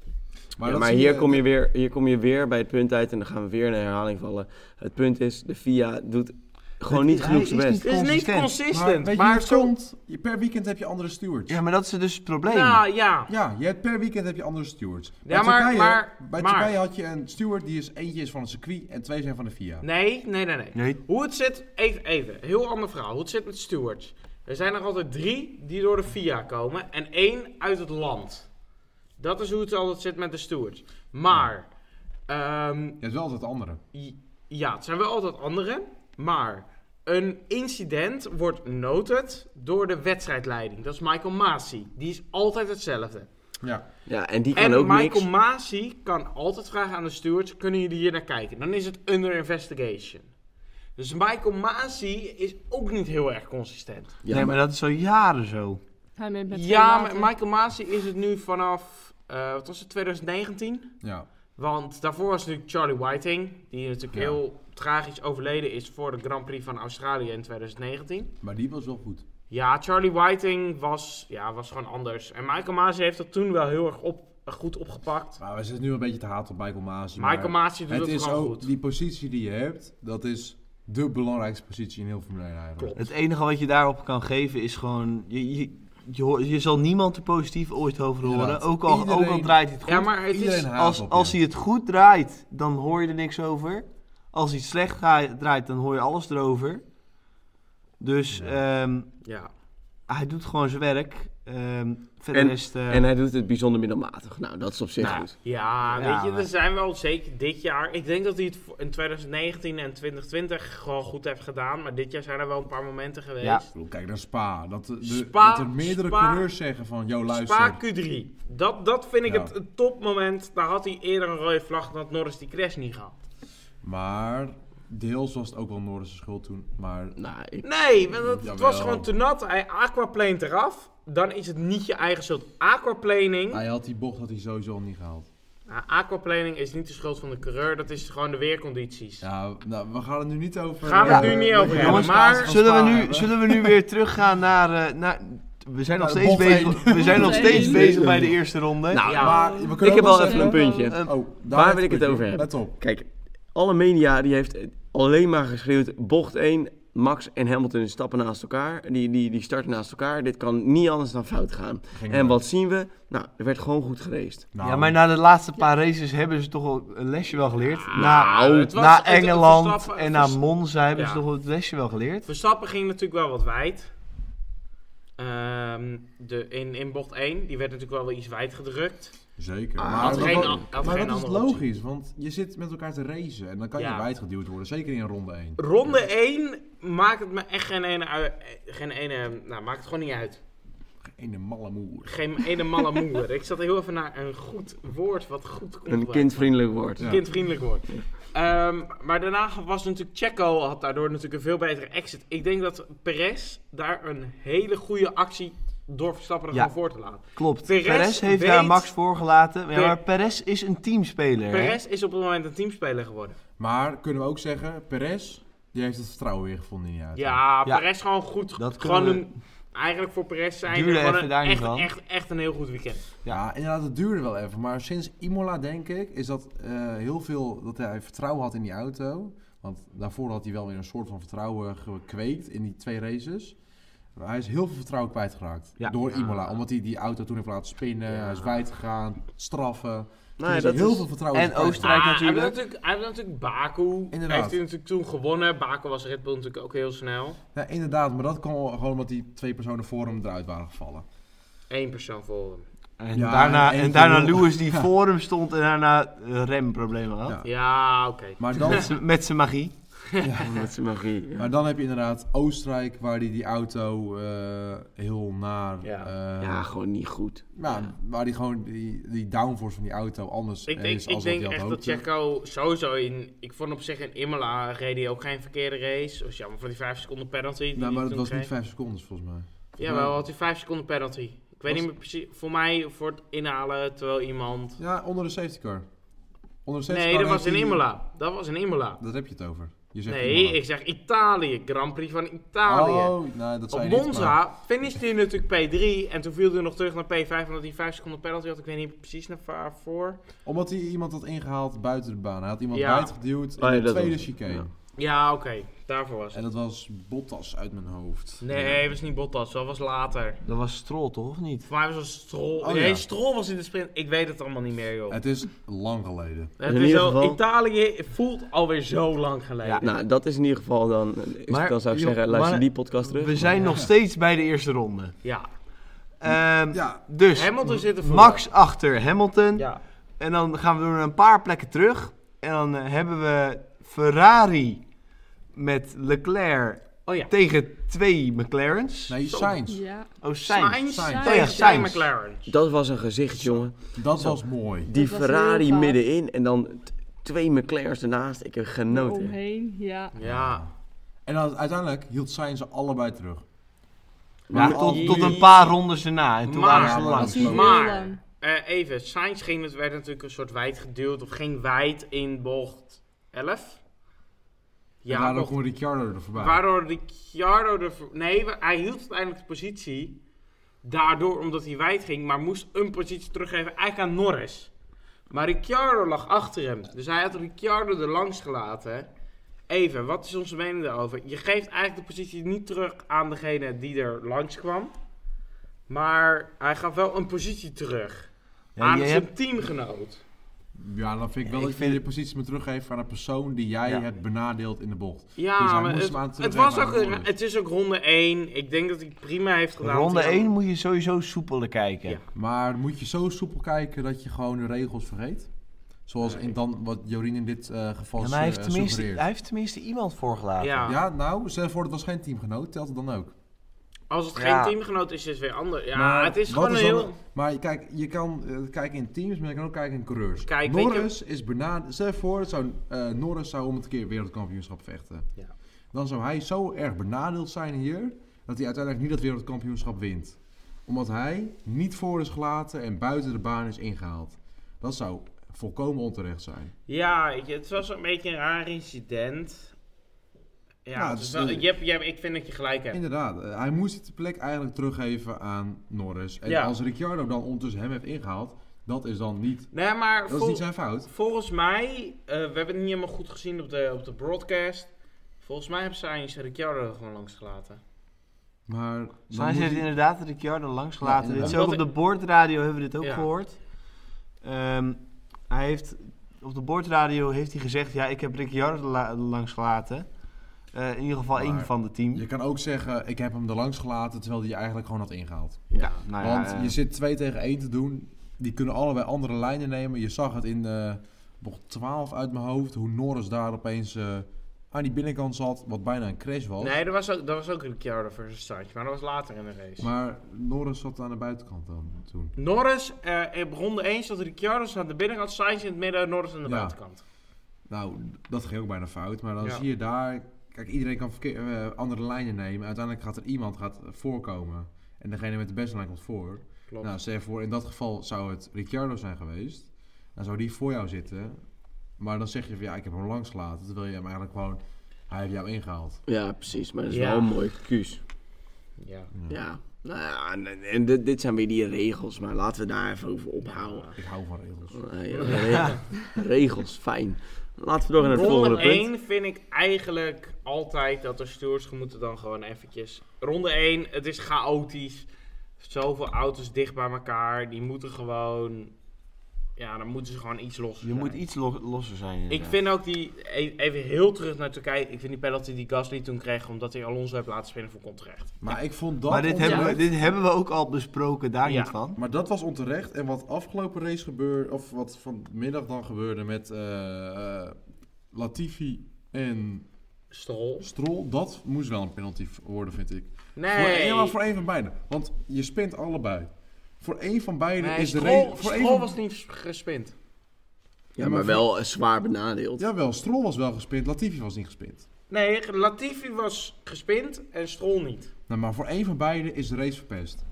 E: Maar,
C: dat
E: maar
C: zie
E: hier, kom je weer, hier kom je weer bij het punt uit en dan gaan we weer in een herhaling vallen. Het punt is, de FIA doet gewoon
A: Het-
E: niet
A: hij
E: genoeg zijn
A: is
E: best.
A: niet-
D: Het is
A: Consistent.
D: niet
C: Maar,
D: consistent.
C: weet je
D: maar
C: hoe het
D: zo-
C: komt? Je- Per weekend heb je andere stewards.
A: Ja,
C: Ja,
A: maar dat is dus het probleem.
D: Ja, Nou, ja.
C: je hebt per weekend heb je andere stewards.
D: Ja, maar-
C: Turkije,
D: maar-
C: bij
D: maar-
C: Turkije had je een steward die is eentje is van het circuit en twee zijn van de FIA.
D: Nee, nee, nee, nee.
A: Nee,
D: Hoe het zit, even, even, heel ander verhaal. Hoe het zit met stewards. Er zijn er altijd drie die door de FIA komen en één uit het land. Dat is hoe het altijd zit met de stewards. Maar, ehm,
C: Je hebt wel altijd andere.
D: I- Ja, het zijn wel altijd anderen. Maar een incident wordt noted door de wedstrijdleiding. Dat is Michael Masi. Die is altijd hetzelfde.
C: Ja.
E: Ja, en die kan
D: En
E: ook
D: Michael
E: niks.
D: Masi kan altijd vragen aan de stewards: kunnen jullie hier naar kijken? Dan is het under investigation. Dus Michael Masi is ook niet heel erg consistent.
E: Ja,
A: nee, maar dat is al jaren zo.
B: Hij meent met
D: ja,
B: twee maten.
D: maar Michael Masi is het nu vanaf, eh, wat was het, 2019?
C: ja.
D: Want daarvoor was natuurlijk Charlie Whiting, die natuurlijk
C: Ja.
D: heel tragisch overleden is voor de Grand Prix van Australië in 2019.
C: Maar die was wel goed.
D: Ja, Charlie Whiting was, ja, was gewoon anders. En Michael Masi heeft dat toen wel heel erg op, goed opgepakt.
C: Maar we zitten nu een beetje te haat op Michael Masi.
D: Michael
C: maar
D: Masi doet
C: het
D: het,
C: is
D: gewoon
C: ook
D: goed.
C: die positie die je hebt, dat is de belangrijkste positie in heel Formule 1 eigenlijk.
D: Klopt.
A: Het enige wat je daarop kan geven is gewoon... Je, je, je, hoort- je zal niemand er positief ooit over horen,
C: Inderdaad.
A: ook, al, ook al
C: Iedereen-
A: draait hij het goed.
D: Ja, maar het
C: Iedereen
D: is...
C: haat
A: als,
C: op
A: als
C: je.
A: hij het goed draait, dan hoor je er niks over. Als hij het slecht ga- draait, dan hoor je alles erover. Dus
C: Ja.
A: ehm,
D: Ja.
A: hij doet gewoon zijn werk. Ehm verder is het... eh,
E: En hij doet het bijzonder middelmatig. Nou, dat is op zich goed.
D: Ja,
A: Ja,
D: weet je,
A: maar-
D: er zijn wel zeker dit jaar... Ik denk dat hij het voor- in 2019 en 2020 gewoon goed heeft gedaan. Maar dit jaar zijn er wel een paar momenten geweest.
A: Ja.
C: Ik bedoel, Kijk naar Spa. Dat, de,
D: Spa-
C: dat er meerdere
D: Spa-
C: coureurs zeggen van, yo luister.
D: Spa Q3. Dat, dat vind ik
C: Ja.
D: het, het topmoment. Daar had hij eerder een rode vlag dan had Norris die crash niet gehad.
C: Maar Deels was het ook wel Norris' schuld toen, maar
E: Nou, ik,
D: Nee, want het, het was
C: Jawel.
D: gewoon te nat. Hij aquaplane eraf. Dan is het niet je eigen schuld. Aquaplaning.
C: hij had die bocht had hij sowieso al niet gehaald.
D: Nou, aquaplaning is niet de schuld van de coureur. Dat is gewoon de weercondities.
C: Ja, nou, we gaan het nu niet over... eh,
D: Gaan we
A: het
D: nu niet over
A: hebben,
D: maar-
A: Zullen we, nu, zullen we nu weer teruggaan naar... eh, naar we zijn nog
C: Nou,
A: steeds
C: bocht
A: bezig, we zijn nog
B: Bocht
A: steeds
B: één.
A: bezig bij de eerste ronde.
E: Nou,
D: Ja.
C: Maar we kunnen
E: ik heb
C: ook
E: wel
C: nog
E: even
B: zeggen-
E: een puntje.
A: Eh,
C: zeggen- Oh, daar
E: Waar
C: heb
E: wil ik
C: een
E: het
C: puntje.
E: over
C: Let op.
E: Kijk, alle media die heeft alleen maar geschreeuwd bocht 1. Max en Hamilton stappen naast elkaar. Die, die, die starten naast elkaar. Dit kan niet anders dan fout gaan.
C: Ging
E: En
C: maar.
E: wat zien we? Nou, er werd gewoon goed geraced.
C: Nou,
A: ja, maar na de laatste paar races hebben ze toch wel een lesje wel geleerd. na
D: Nou, het was-
A: na
D: het- het
A: Engeland
D: Verstappen-
A: en na
D: Vers-
A: Monza hebben ze
D: Ja.
A: toch wel het lesje wel geleerd.
D: Verstappen ging natuurlijk wel wat wijd. Ehm, de, in, in bocht 1. Die werd natuurlijk wel wel iets wijd gedrukt.
C: Zeker.
E: Ah,
C: maar
D: Had
C: dat,
D: geen,
C: dat-
D: had
C: maar
D: geen
C: dat is
D: andere optie.
C: logisch, want je zit met elkaar te racen en dan kan je
D: Ja.
C: wijdgeduwd worden, zeker in ronde 1.
D: Ronde 1 maakt het me echt geen ene... ui- Geen ene nou, maakt het gewoon niet uit.
C: In de malle moer.
D: Geen ene malle moeder. Ik zat heel even naar een goed woord wat goed komt. eh,
E: Een kindvriendelijk woord.
C: Ja.
D: kindvriendelijk wordt. Ehm, maar daarna was natuurlijk Checo had daardoor natuurlijk een veel betere exit. Ik denk dat Perez daar een hele goede actie door Verstappen er
A: Ja.
D: gewoon voor te laten.
A: Klopt. Perez,
D: Perez
A: heeft
D: weet-
A: daar Max voorgelaten. Ja,
D: Per-
A: maar Perez is een teamspeler. hè?
D: Perez is op het moment een teamspeler geworden.
C: Maar kunnen we ook zeggen, Perez, die heeft het vertrouwen weer gevonden in je auto.
D: Ja,
A: Ja.
D: Perez gewoon goed.
A: Dat
D: gewoon
A: kunnen we-
D: een, eigenlijk voor Perez zijn
A: Duurde
D: er gewoon
A: even daar
D: een,
A: niet
D: echt,
A: van.
D: echt, echt een heel goed weekend.
A: Ja.
C: Ja. inderdaad, het duurde wel even. Maar sinds Imola, denk ik, is dat eh, heel veel dat hij vertrouwen had in die auto. Want daarvoor had hij wel weer een soort van vertrouwen gekweekt in die twee races. Maar hij is heel veel vertrouwen kwijtgeraakt
A: Ja.
C: door
D: Ja.
C: Imola. Omdat hij die auto toen heeft laten spinnen,
D: Ja.
C: hij is wijd gegaan, straffen. Toen
E: Nou ja,
C: is
E: dat
C: hij heel
E: is-
C: veel vertrouwen
A: en
C: heeft kwijtgeraakt.
A: Oostenrijk
D: hij heeft
A: natuurlijk.
D: natuurlijk. Hij heeft natuurlijk Baku.
C: Inderdaad.
D: Heeft hij natuurlijk toen gewonnen. Baku was Red Bull natuurlijk ook heel snel.
C: Ja, inderdaad, maar dat kwam gewoon omdat die twee personen voor hem eruit waren gevallen.
D: Eén persoon voor hem.
A: En
C: Ja,
A: daarna,
C: en
A: en
C: één
A: daarna
C: keer wel.
A: Lewis die voor hem stond en daarna eh, remproblemen had.
C: Ja.
D: Ja, oké.
C: Maar dan,
A: Met z'n- Met zijn magie.
E: Dat is magie.
C: maar dan heb je inderdaad Oostenrijk, waar hij die auto eh, heel naar...
D: Ja.
C: eh,
E: Ja, gewoon niet goed.
C: Nou, waar die gewoon die, die downforce van die auto anders
D: Ik denk,
C: is
D: ik
C: als wat
D: denk
C: hij had
D: echt dat
C: gehoopt.
D: Checo sowieso in... Ik vond op zich in Imola reed hij ook geen verkeerde race. Was jammer voor die 5 seconden penalty. die
C: Nou,
D: hij
C: maar dat
D: toen
C: was
D: kreeg.
C: niet 5 seconden volgens mij.
D: Jawel, had hij 5 seconden penalty. Ik weet
C: Was-
D: niet meer precies. Voor mij voor het inhalen terwijl iemand...
C: Ja, onder de safety car. Onder de safety
D: Nee,
C: car
D: dat was in
C: heeft hij-
D: Imola. Dat was in Imola.
C: Dat heb je het over. Je zegt
D: Nee,
C: Imola.
D: ik zeg Italië. Grand Prix van Italië.
C: Oh, nee, dat
D: Op
C: zei je niet, maar-
D: Monza finishte hij natuurlijk P3 en toen viel hij nog terug naar P5 omdat hij 5 seconden penalty had. Ik weet niet precies naar waarvoor.
C: Omdat hij iemand had ingehaald buiten de baan. Hij had iemand
D: Ja.
C: buitengeduwd in
E: Ah, ja,
C: de
E: dat
C: tweede
E: was het.
C: chicane.
E: Ja.
D: Ja, oké. Daarvoor was
C: En
D: het.
C: dat was Bottas uit mijn hoofd.
D: Nee, het was niet Bottas. Dat was later.
A: Dat was Stroll toch, of niet?
D: Voor mij was het Strol.
C: Oh,
D: nee,
C: ja.
D: Strol was in de sprint. Ik weet het allemaal niet meer, joh. Het,
C: Het is lang geleden.
E: in
D: is
E: ieder
D: al,
E: geval-
D: Italië voelt alweer zo lang geleden.
A: Ja.
E: Nou, dat is in ieder geval dan...
A: Maar,
E: dan zou ik
A: joh,
E: zeggen, luister
A: maar-
E: die podcast terug.
A: We zijn nog steeds bij de eerste ronde.
D: Ja.
A: Ehm,
C: Ja,
A: Dus
D: Hamilton zit er voor.
A: Max achter Hamilton.
D: Ja.
A: En dan gaan we door een paar plekken terug. En dan eh, hebben we Ferrari met Leclerc
D: Oh ja.
A: tegen twee McLarens.
C: nee, Sainz.
B: Ja.
A: Oh, Sainz.
B: Sainz.
A: Oh ja,
D: tegen Sainz.
A: Sainz.
D: McLaren.
E: Dat was een gezicht, jongen.
C: Dat was mooi.
E: Die
B: Dat was heel
E: Ferrari
B: gaaf.
E: middenin en dan t- twee McLaren's ernaast. Ik heb genoten.
B: Omheen, ja.
D: Ja.
C: En dan, uiteindelijk hield Sainz ze allebei terug.
A: Ja,
C: Maar
A: tot,
C: al-
A: tot een paar rondes erna. En toen
D: Maar-
A: waren ze
C: maar-
A: langs.
B: Heel
D: Maar-
B: lang.
D: Eh, even, Sainz ging, het werd natuurlijk een soort wijd geduwd of ging wijd in bocht 11.
C: Ja,
D: Ja,
C: en daardoor
D: bocht-
C: kon Ricciardo er voorbij.
D: waardoor Ricciardo de... ver- Nee, wa- hij hield uiteindelijk de positie. Daardoor, omdat hij wijd ging, maar moest een positie teruggeven eigenlijk aan Norris. Maar Ricciardo lag achter hem. Dus hij had Ricciardo er langs gelaten. Even, wat is onze mening daarover? Je geeft eigenlijk de positie niet terug aan degene die er langs kwam. Maar hij gaf wel een positie terug
A: Ja,
D: aan
A: je
D: zijn
A: hebt,
D: teamgenoot.
C: Ja, dan vind ik wel
A: Ik
C: dat je
A: vind-
C: je positie moet teruggeven aan een persoon die jij
A: Ja.
C: hebt benadeeld in de bocht.
D: Ja,
C: Dus hij
D: maar
C: moest
D: het,
C: hem aan
D: het
C: teruggeven
D: was
C: aan
D: ook,
C: de
D: een-
C: Norris.
D: het is ook ronde 1. Ik denk dat hij het prima heeft gedaan.
A: ronde
D: Dat hij
A: 1
D: ook-
A: moet je sowieso soepeler kijken.
D: Ja.
C: Maar moet je zo soepel kijken dat je gewoon de regels vergeet? Zoals in dan wat Jorien in dit eh, geval
A: Ja,
C: ja,
A: maar hij heeft, tenminste,
C: suggereert.
A: hij heeft tenminste iemand voorgelaten.
D: Ja.
C: Ja, nou, stel voor het was geen teamgenoot, telt het dan ook.
D: Als het
E: Ja.
D: geen teamgenoot is, is het weer anders. Ja,
C: Maar
D: het is
C: wat
D: gewoon een
C: dan-
D: heel...
C: Maar kijk, je kan eh, kijken in teams, maar je kan ook kijken in coureurs.
D: Kijk, weet je-
C: Norris is benaderd... Stel je voor, dat zou, eh, Norris zou om het keer wereldkampioenschap vechten.
D: Ja.
C: Dan zou hij zo erg benadeeld zijn hier... dat hij uiteindelijk niet dat wereldkampioenschap wint. Omdat hij niet voor is gelaten en buiten de baan is ingehaald. Dat zou volkomen onterecht zijn.
D: Ja, weet je, het was een beetje een raar incident. Ja,
C: Ja,
D: het
C: dus
D: is wel-
C: de-
D: je hebt, je hebt- ik vind dat je gelijk hebt.
C: Inderdaad, eh, hij moest de plek eigenlijk teruggeven aan Norris. En
D: Ja.
C: als Ricciardo dan ondertussen hem heeft ingehaald... dat is dan niet...
D: Nee, maar
C: Dat is
D: vol-
C: niet zijn fout.
D: volgens mij, eh, we hebben het niet helemaal goed gezien op de, op de broadcast. Volgens mij hebben Sainz en Ricciardo er gewoon langs gelaten.
C: Maar dan
A: Sainz
C: moet
A: heeft
C: hij-
A: inderdaad Ricciardo langs gelaten.
C: Ja,
A: dit is
D: inderdaad.
A: ook op de boordradio hebben we dit ook
D: Ja.
A: gehoord. Ehm, hij heeft, op de boordradio heeft hij gezegd, ja, ik heb Ricciardo la- langs gelaten. Eh, in ieder geval
C: Maar
A: één van de team.
C: Je kan ook zeggen, ik heb hem er langs gelaten terwijl hij eigenlijk gewoon had ingehaald.
A: ja, nou ja,
C: Want
A: eh,
C: je zit 2 tegen 1 te doen. Die kunnen allebei andere lijnen nemen. Je zag het in eh bocht 12 uit mijn hoofd, hoe Norris daar opeens eh, aan die binnenkant zat, wat bijna een crash was.
D: Nee, dat was ook, dat was ook Ricciardo versus Sainz, maar dat was later in de race.
C: Maar Norris zat aan de buitenkant dan toen.
D: Norris, eh op ronde 1 zat Ricciardo aan de binnenkant, Sainz in het midden, Norris aan de
C: Ja.
D: buitenkant.
C: Nou, dat ging ook bijna fout. Maar dan
D: Ja.
C: zie je daar, kijk, iedereen kan verkeer- eh, andere lijnen nemen. Uiteindelijk gaat er iemand gaat voorkomen. En degene met de beste lijn komt voor.
D: Klopt.
C: Nou, stel je voor, in dat geval zou het Ricciardo zijn geweest. Dan zou die voor jou zitten. Maar dan zeg je van ja, ik heb hem langs gelaten. Terwijl je hem eigenlijk gewoon, hij heeft jou ingehaald.
E: Ja, precies. Maar dat is
D: Ja.
E: wel een mooi excuus.
D: ja.
E: Ja. Nou ja, en, en dit, dit zijn weer die regels, maar laten we daar even over ophouden.
C: Ik hou van regels.
E: Eh, ja, re- regels, fijn. Laten we door naar het
D: Ronde
E: volgende punt.
D: 1 vind ik eigenlijk altijd dat de stewards moeten dan gewoon eventjes... Ronde 1, het is chaotisch. Zoveel auto's dicht bij elkaar. Die moeten gewoon... Ja, dan moeten ze gewoon iets los.
A: je moet iets lo- losser zijn.
D: Ik
A: inderdaad.
D: vind ook die... e- Even heel terug naar Turkije. Ik vind die penalty die Gasly toen kreeg... omdat hij Alonso heeft laten spelen voor contract.
C: Maar ik vond dat
A: maar dit hebben, we,
C: onterecht.
A: dit hebben we ook al besproken, daar
D: Ja.
A: niet van.
C: Maar dat was onterecht. En wat afgelopen race gebeurde, of wat vanmiddag dan gebeurde met eh, eh, Latifi en
D: Strol?
C: Stroll, dat moest wel een penalty worden, vind ik. Voor
D: Nee.
C: één, maar voor één van beiden. Want je spint allebei. Voor één van beiden
D: Nee,
C: is
D: Stroll,
C: de reden. Voor één
D: Stroll
C: van-
D: was niet gespind.
E: Ja, maar wel eh, zwaar benadeeld.
C: Jawel, Stroll was wel gespint, Latifi was niet gespint.
D: Nee, Latifi was gespind en Strol niet.
C: Nou, maar voor één van beiden is de race verpest.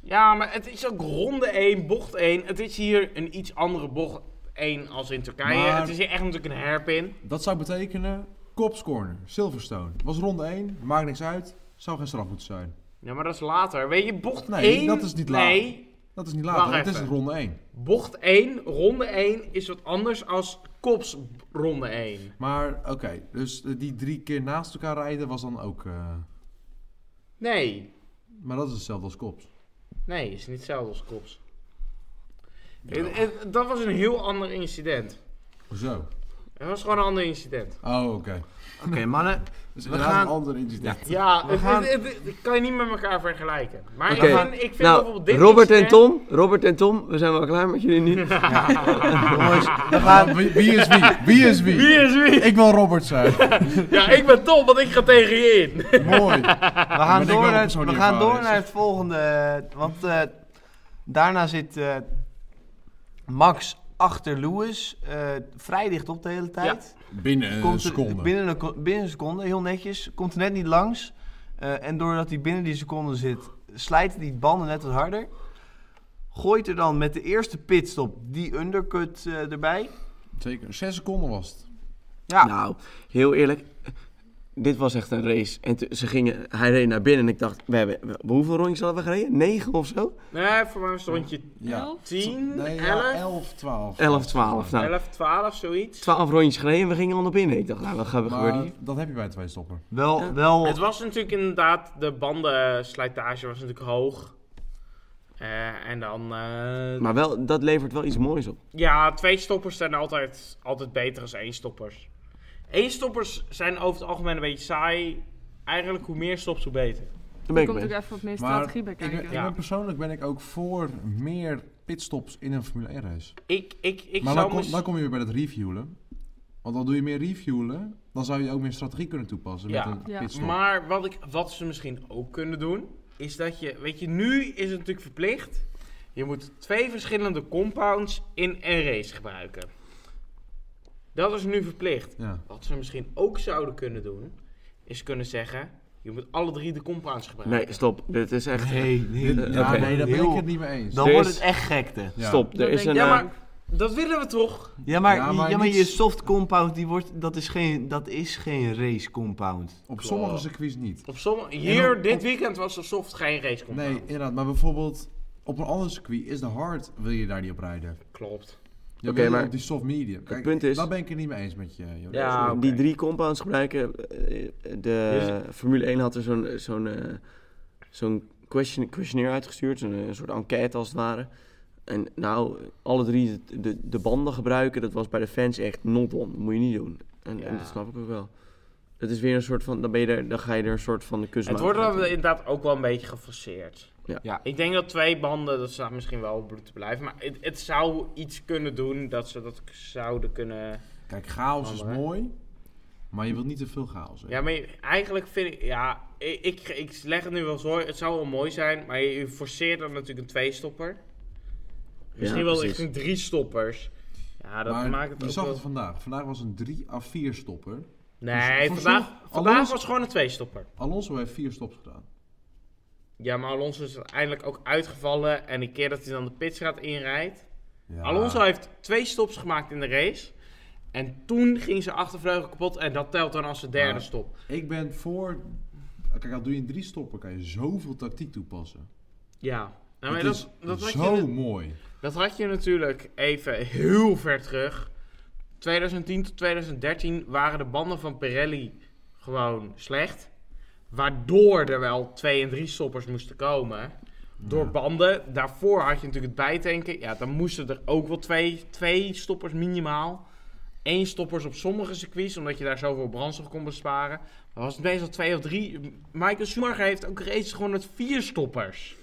D: Ja, maar het is ook ronde 1, bocht 1. Het is hier een iets andere bocht 1 als in Turkije.
C: Maar-
D: Het is hier echt natuurlijk een herpin.
C: Dat zou betekenen kopscorner, Silverstone. Was ronde 1, maakt niks uit, zou geen straf moeten zijn.
D: Ja, maar dat is later. Weet je, bocht
C: Nee,
D: 1...
C: dat is niet
D: Nee,
C: Dat is niet
D: Wacht
C: later, het is
D: even.
C: ronde 1.
D: bocht 1, ronde 1 is wat anders als kops ronde 1.
C: Maar oké, dus eh, die drie keer naast elkaar rijden was dan ook... eh,
D: Nee,
C: maar dat is hetzelfde als kops.
D: nee, is niet hetzelfde als kops. Het- het- dat was een heel ander incident.
C: Zo.
D: Het was gewoon een ander incident.
C: Oh, oké.
A: Oké,
D: (laughs)
A: mannen.
C: Dus
A: We
C: inderdaad
A: gaan-
C: een ander incident.
D: Ja, het,
A: gaan-
D: het- het- het kan je niet met elkaar vergelijken. Maar
E: Oké.
D: ik vind, ik vind
E: Nou,
D: bijvoorbeeld dit
E: Robert en
D: incident-
E: Tom, Robert en Tom, we zijn wel klaar met jullie nu.
A: Jongens, we gaan,
C: Ah, Wie, wie is wie? Wie is wie?
D: Wie is wie?
C: Ik wil Robert zijn.
D: (laughs) Ja, ik ben Tom, want ik ga tegen je in.
C: Mooi.
A: we gaan
C: ik wel
A: door,
C: een
A: naar,
C: persoon
A: we
C: die
A: gaan
C: ervaren
A: door
C: is.
A: naar het volgende. eh, Want eh, daarna zit eh, Max achter Lewis. eh, vrij dicht op de hele tijd.
C: Binnen een
A: Komt er-
C: Eh, seconde.
A: Binnen een, ko- binnen een seconde, heel netjes. Komt er net niet langs. Eh, en doordat hij binnen die seconde zit, slijt hij die banden net wat harder. Gooit er dan met de eerste pitstop die undercut eh, erbij.
C: Zeker. Zes seconden was het.
A: Ja,
E: (laughs) Nou, heel eerlijk, dit was echt een race. En toen- ze gingen, hij reed naar binnen en ik dacht, we hebben, we- hoeveel rondjes hadden we gereden? 9 of zo?
D: Nee, voor mij stond je 10,
C: Nee,
D: 11,
C: 11, 12.
E: 11, 12. Nou,
D: 11, 12, zoiets.
E: 12 rondjes gereden en we gingen al naar binnen. Ik dacht, nou, wat gaat er gebeuren
C: Maar
E: hier?
C: dat heb je bij twee stoppen.
A: wel,
E: Ja.
C: Oh.
A: wel
D: Het was natuurlijk inderdaad, de bandenslijtage was natuurlijk hoog. Eh, en dan, eh,
E: Maar wel, dat levert wel iets moois op.
D: ja, twee stoppers zijn altijd, altijd beter dan één stoppers. Eén stoppers zijn over het algemeen een beetje saai. Eigenlijk hoe meer stops, hoe beter.
E: Daar ben ik
B: komt
E: mee.
B: ook even wat meer
C: Maar
B: strategie
C: ik
B: bij
C: ben,
B: kijken.
C: ik
D: Ja.
C: ben persoonlijk ben ik ook voor meer pitstops in een Formule 1 race.
D: Ik, ik, ik
C: maar
D: zou
C: dan kom,
D: mis-
C: dan kom je weer bij dat refuelen. Want dan doe je meer refuelen, dan zou je ook meer strategie kunnen toepassen
D: Ja.
C: met een
B: Ja.
C: pitstop.
D: Maar wat, ik, wat ze misschien ook kunnen doen, is dat je, weet je, nu is het natuurlijk verplicht. Je moet twee verschillende compounds in een race gebruiken. Dat is nu verplicht.
C: Ja.
D: Wat ze misschien ook zouden kunnen doen, is kunnen zeggen, je moet alle drie de compounds gebruiken.
E: Nee, stop. Dit is echt...
A: Nee, nee,
C: Dit-
E: oké.
C: (laughs) ja, nee, daar ben
A: Heel-
C: ik het niet mee eens.
A: Dan
E: Er
A: wordt
E: is-
A: het echt gekte.
C: Ja.
E: Stop.
B: Dat
E: Er is
B: denk
E: een...
B: ik
D: Ja,
E: eh,
D: maar dat willen we toch?
A: Ja, maar,
C: Ja, maar
A: ja, maar
C: niet-
A: je soft compound, die wordt, dat, is geen, dat is geen race compound.
C: Op sommige circuits niet.
D: Op sommige, hier,
C: En op-
D: dit
C: op-
D: weekend was er soft geen race
C: Nee,
D: compound.
C: inderdaad. Maar bijvoorbeeld op een ander circuit is de hard, wil je daar niet op rijden.
D: Klopt.
C: Je
E: Oké,
C: wil
E: maar
C: op die soft medium. Kijk,
E: punt is-
C: daar ben ik het niet mee eens met je. Joris.
D: Ja, oké.
E: Die drie compounds gebruiken. eh, De Formule 1 had er zo'n zo'n eh, zo'n question, questionnaire uitgestuurd. Zo'n eh, soort enquête als het ware. En nou, alle drie de, de, de banden gebruiken, dat was bij de fans echt not on. Moet je niet doen. En, en
D: Ja.
E: dat snap ik ook wel. Het is weer een soort van, dan, ben je er, dan ga je er een soort van de kust
C: Dus
D: Het wordt dan inderdaad ook wel een beetje geforceerd.
E: Ja.
A: Ja.
D: Ik denk dat twee banden, dat zou misschien wel op te blijven. Maar het, het zou iets kunnen doen dat ze dat zouden kunnen...
C: Kijk, chaos
D: Ander,
C: is
D: hè?
C: mooi, maar je wilt niet te veel chaos. Hè?
D: Ja, maar je- eigenlijk vind ik... Ja, ik, ik, ik leg het nu wel zo. Het zou wel mooi zijn, maar je, je forceert dan natuurlijk een twee-stopper. Misschien wel echt een drie-stoppers. Ja, dat
C: Maar
D: maakt het
C: je
D: ook
C: zag
D: wel...
C: het vandaag. Vandaag was een 3 à 4 stopper.
D: Nee,
C: Voor
D: vandaag,
C: sommige-
D: vandaag
C: Alonso-
D: was gewoon een twee-stopper.
C: Alonso heeft 4 stops gedaan.
D: Ja, maar Alonso is uiteindelijk ook uitgevallen. En die keer dat hij dan de pitstraat inrijdt...
C: Ja.
D: Alonso heeft twee stops gemaakt in de race. En toen ging zijn achtervleugel kapot. En dat telt dan als zijn derde
C: Maar-
D: stop.
C: Ik ben voor... Kijk, al doe je in 3 stoppen, kan je zoveel tactiek toepassen.
D: Ja. Nou, maar
C: Het is
D: dat, dat, had
C: zo
D: je, nu-
C: mooi.
D: dat had je natuurlijk even heel ver terug. 2010 tot 2013 waren de banden van Pirelli gewoon slecht. Waardoor er wel twee en drie stoppers moesten komen. Door banden. Daarvoor had je natuurlijk het bijtanken. Ja, dan moesten er ook wel twee, twee stoppers minimaal. Eén stoppers op sommige circuits, omdat je daar zoveel brandstof kon besparen. Maar was het meestal twee of drie. Michael Schumacher heeft ook races gewoon met vier stoppers.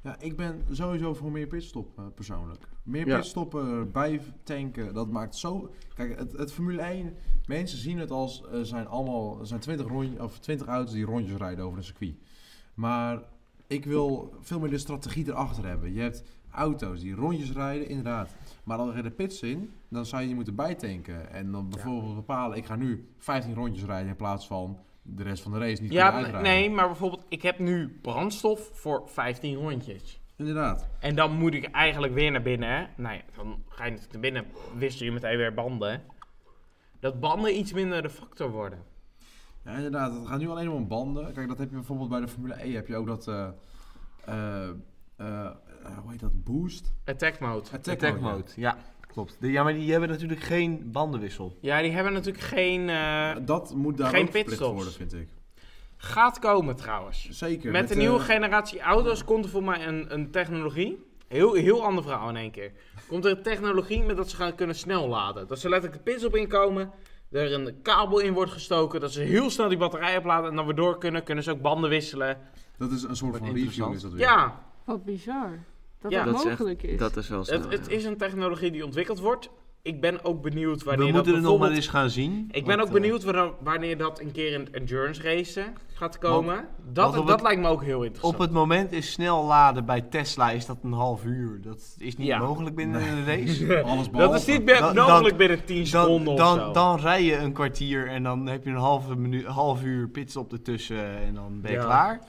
C: Ja, ik ben sowieso voor meer pitstoppen eh, persoonlijk. Meer
E: Ja.
C: pitstoppen erbij tanken, dat maakt zo... Kijk, het, het Formule 1, mensen zien het als... Er zijn allemaal, er zijn 20, rond, of 20 auto's die rondjes rijden over een circuit. Maar ik wil veel meer de strategie erachter hebben. Je hebt auto's die rondjes rijden, inderdaad. Maar dan er de pits in, dan zou je die moeten bijtanken. En dan bijvoorbeeld bepalen, ik ga nu 15 rondjes rijden in plaats van de rest van de race niet kunnen
D: Ja,
C: uitrijden.
D: nee, maar bijvoorbeeld, ik heb nu brandstof voor 15 rondjes.
C: Inderdaad.
D: En dan moet ik eigenlijk weer naar binnen. hè? Nou ja, dan ga je natuurlijk naar binnen. Wisten je meteen weer banden. Dat banden iets minder de factor worden.
C: Ja, inderdaad. Het gaat nu alleen om banden. Kijk, dat heb je bijvoorbeeld bij de Formule E. Heb je ook dat... eh, eh, eh, hoe heet dat? Boost?
D: Attack mode.
C: Attack, mode.
A: ja. Klopt. De- ja, maar die hebben natuurlijk geen bandenwissel.
D: Ja, die hebben natuurlijk geen... eh,
C: Dat moet daar
D: Geen
C: ook verplicht
D: pitstops.
C: worden, vind ik.
D: gaat komen trouwens.
C: Zeker.
D: Met de nieuwe
C: eh,
D: generatie auto's komt er voor mij een, een technologie. Heel, heel ander verhaal in één keer. Komt er een technologie met dat ze gaan kunnen snel laden. Dat ze letterlijk de pins op inkomen. Er een kabel in wordt gestoken. Dat ze heel snel die batterij opladen. En dan weer door kunnen. Kunnen ze ook banden wisselen.
C: Dat is een soort van review,
A: interessant.
C: is dat weer.
D: Ja,
B: Wat bizar. Dat
D: Ja.
B: dat,
E: Dat is echt-
B: mogelijk is.
E: Dat is wel snel.
A: nou,
D: het, het
E: ja.
D: is een technologie die ontwikkeld wordt. Ik ben ook benieuwd wanneer
A: We
D: dat
A: moeten het nog maar
D: bijvoorbeeld...
A: eens gaan zien.
D: Ik ben
A: Want,
D: ook
A: eh,
D: benieuwd wanneer- wanneer dat een keer in endurance racen gaat komen. dat
A: want op
D: dat
A: het-
D: lijkt me ook heel interessant.
A: eh, Op het moment is snel laden bij Tesla is dat een half uur. Dat is niet
D: Ja.
A: mogelijk binnen een (laughs) race.
C: Alles
D: dat
C: behalve.
D: is niet meer
A: Dan-
D: mogelijk
A: dan-
D: binnen 10
A: Dan,
D: seconden of zo.
A: dan, dan rij je een kwartier en dan heb je een halve minu- half uur pitstop ertussen en dan ben je
D: Ja.
A: klaar.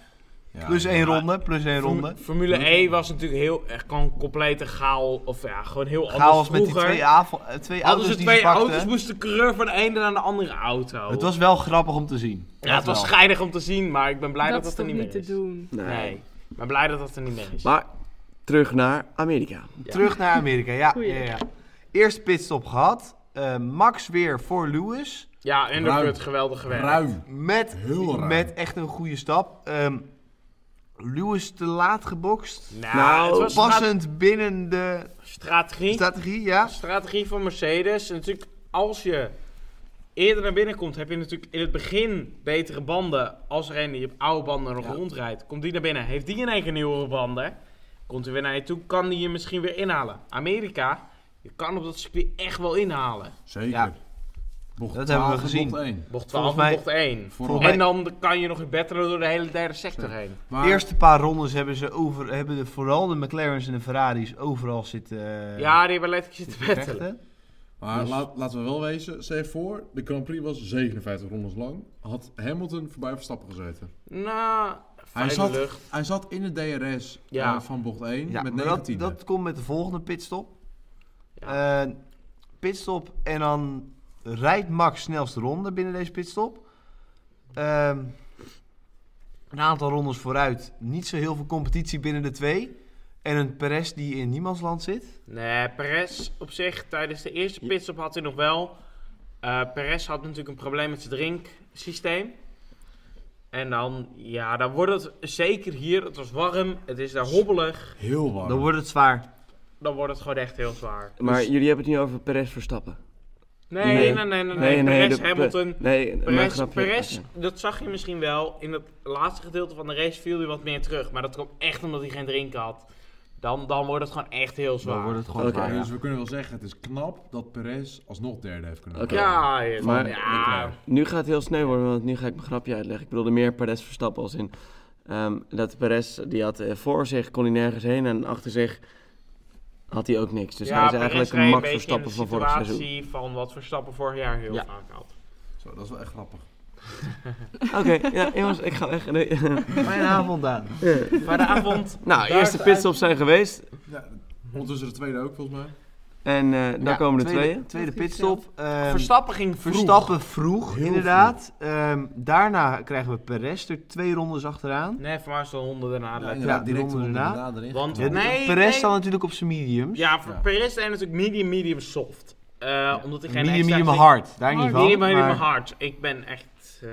C: Ja,
A: Plus
C: ja.
A: één ronde, plus één
D: Formu-
A: ronde. Hm.
D: Formule E was natuurlijk heel, echt gewoon complete chaal, of ja, gewoon heel anders
A: Chaos met die
D: vroeger.
A: twee, avo- eh, twee
D: Hadden
A: auto's
D: ze
A: die
D: twee
A: ze pakten.
D: auto's, moest de coureur van de ene naar de andere auto.
A: Het was wel grappig om te zien.
D: ja, het was
A: wel.
D: scheidig om te zien, maar ik ben blij dat
B: dat
D: dat,
B: is toch
D: er niet
B: niet
D: meer
B: te
D: is.
B: doen.
E: Nee.
D: Nee, ik ben blij dat dat er niet meer is.
E: Maar terug naar Amerika.
A: Terug naar Amerika, ja.
B: Goeie.
A: ja, ja. Eerst pitstop gehad. Eh, Max weer voor Lewis.
D: ja,
C: Ruim.
D: undercut, geweldig gewerkt.
C: Ruim.
A: Met,
C: Heel raar.
A: met echt een goede stap. Ehm, Lewis te laat gebokst.
D: Nou,
E: Nou,
D: het was stra-
A: Passend binnen de
D: strategie.
A: strategie, ja.
D: strategie van Mercedes. En natuurlijk, als je eerder naar binnen komt, heb je natuurlijk in het begin betere banden. Als er een die op oude banden nog rondrijdt, komt die naar binnen. Heeft die in één keer nieuwere banden, komt hij weer naar je toe, kan die je misschien weer inhalen. Amerika, je kan op dat circuit echt wel inhalen.
C: Zeker.
A: Ja.
C: Bocht
A: Dat hebben we
C: 12 en
A: gezien.
C: bocht 1.
D: Bocht 12
A: Volgens
D: en
A: mij-
D: bocht 1.
C: Voor
A: Volgens
D: En dan kan je nog in betteren door de hele derde sector heen.
A: De
C: maar,
A: eerste paar rondes hebben ze over, hebben de, vooral de McLaren's en de Ferraris overal zitten eh,
D: Ja, die hebben letterlijk zitten betteren.
A: vechten.
C: maar
A: Dus-
C: laat- laten we wel wezen, zeg voor, de Grand Prix was 57 rondes lang. Had Hamilton voorbij Verstappen gezeten.
D: Nou,
C: Hij
D: fijne
C: zat,
D: lucht.
C: hij zat in de DRS
D: Ja.
C: eh, van bocht 1
A: Ja,
C: met
A: maar dat,
C: 19.
A: dat komt met de volgende pitstop.
D: Ja.
A: Eh, pitstop en dan rijdt Max snelste ronde binnen deze pitstop. Ehm, een aantal rondes vooruit, niet zo heel veel competitie binnen de twee. En een Perez die in niemands land zit.
D: Nee, Perez op zich, tijdens de eerste pitstop had hij nog wel. Eh Perez had natuurlijk een probleem met zijn drinksysteem. En dan, ja, dan wordt het zeker hier. Het was warm, het is daar hobbelig.
C: Heel warm.
A: Dan wordt het zwaar.
D: Dan wordt het gewoon echt heel zwaar. Dus-
E: Maar jullie hebben het niet over Perez Verstappen.
D: Nee, nee,
E: Nee.
D: nee, nee. nee,
E: de
D: Perez,
E: Pe-
D: Hamilton.
E: Nee, mijn
D: Perez,
E: grapje.
D: Perez,
E: Oké.
D: dat zag je misschien wel. In het laatste gedeelte van de race viel hij wat meer terug. Maar dat kwam echt omdat hij geen drinken had. Dan, dan wordt het gewoon echt heel
A: Dan
D: zwaar.
A: wordt het gewoon
E: Oké.
A: zwaar.
C: Maar
A: ja.
C: Dus we kunnen wel zeggen, het is knap dat Perez alsnog derde heeft kunnen
E: Oké.
C: worden.
D: Ja, ja,
E: Maar-
D: ja.
E: Nu gaat het heel snel worden, want nu ga ik mijn grapje uitleggen. Ik bedoelde meer Perez Verstappen als in... ehm, dat Perez, die had eh, voor zich, kon hij nergens heen. En achter zich had hij ook niks. Dus
D: Ja,
E: hij is
D: Perez
E: eigenlijk
D: reed
E: een Max
D: beetje in
E: Verstappen
D: de
E: van vorig seizoen.
D: situatie van wat Verstappen vorig jaar heel
E: Ja.
D: vaak had.
C: Zo, dat is wel echt grappig.
E: Oké,
D: (laughs)
E: ja, jongens, ik ga weg. Nee,
A: Fijne avond aan.
D: Maar de avond...
E: (laughs) nou, eerste
D: is-
E: pitstops zijn geweest.
C: Ja, ondertussen de tweede ook, volgens mij.
E: En eh daar
A: Ja,
E: komen de
A: tweede,
E: tweeën.
A: Tweede pitstop. ehm,
D: Verstappen ging vroeg.
A: Verstappen vroeg,
C: Heel
A: inderdaad. Ehm, daarna krijgen we Perez er twee rondes achteraan.
D: Nee, voor mij is de honden daarna.
C: Ja,
D: lekker.
C: inderdaad,
A: ja,
C: direct
A: ronde
C: eronder
A: daarna.
C: erin
D: Want-
C: gekomen.
D: Nee.
A: Perez
D: nee.
A: staat natuurlijk op zijn mediums.
D: Ja, voor
C: Ja.
D: Perez zijn natuurlijk medium, medium, soft. Eh, Omdat hij geen
A: medium,
D: extra
A: medium
D: zin-
A: hard. Daar niet van.
D: Medium, medium
A: maar-
D: hard. Ik ben echt... eh,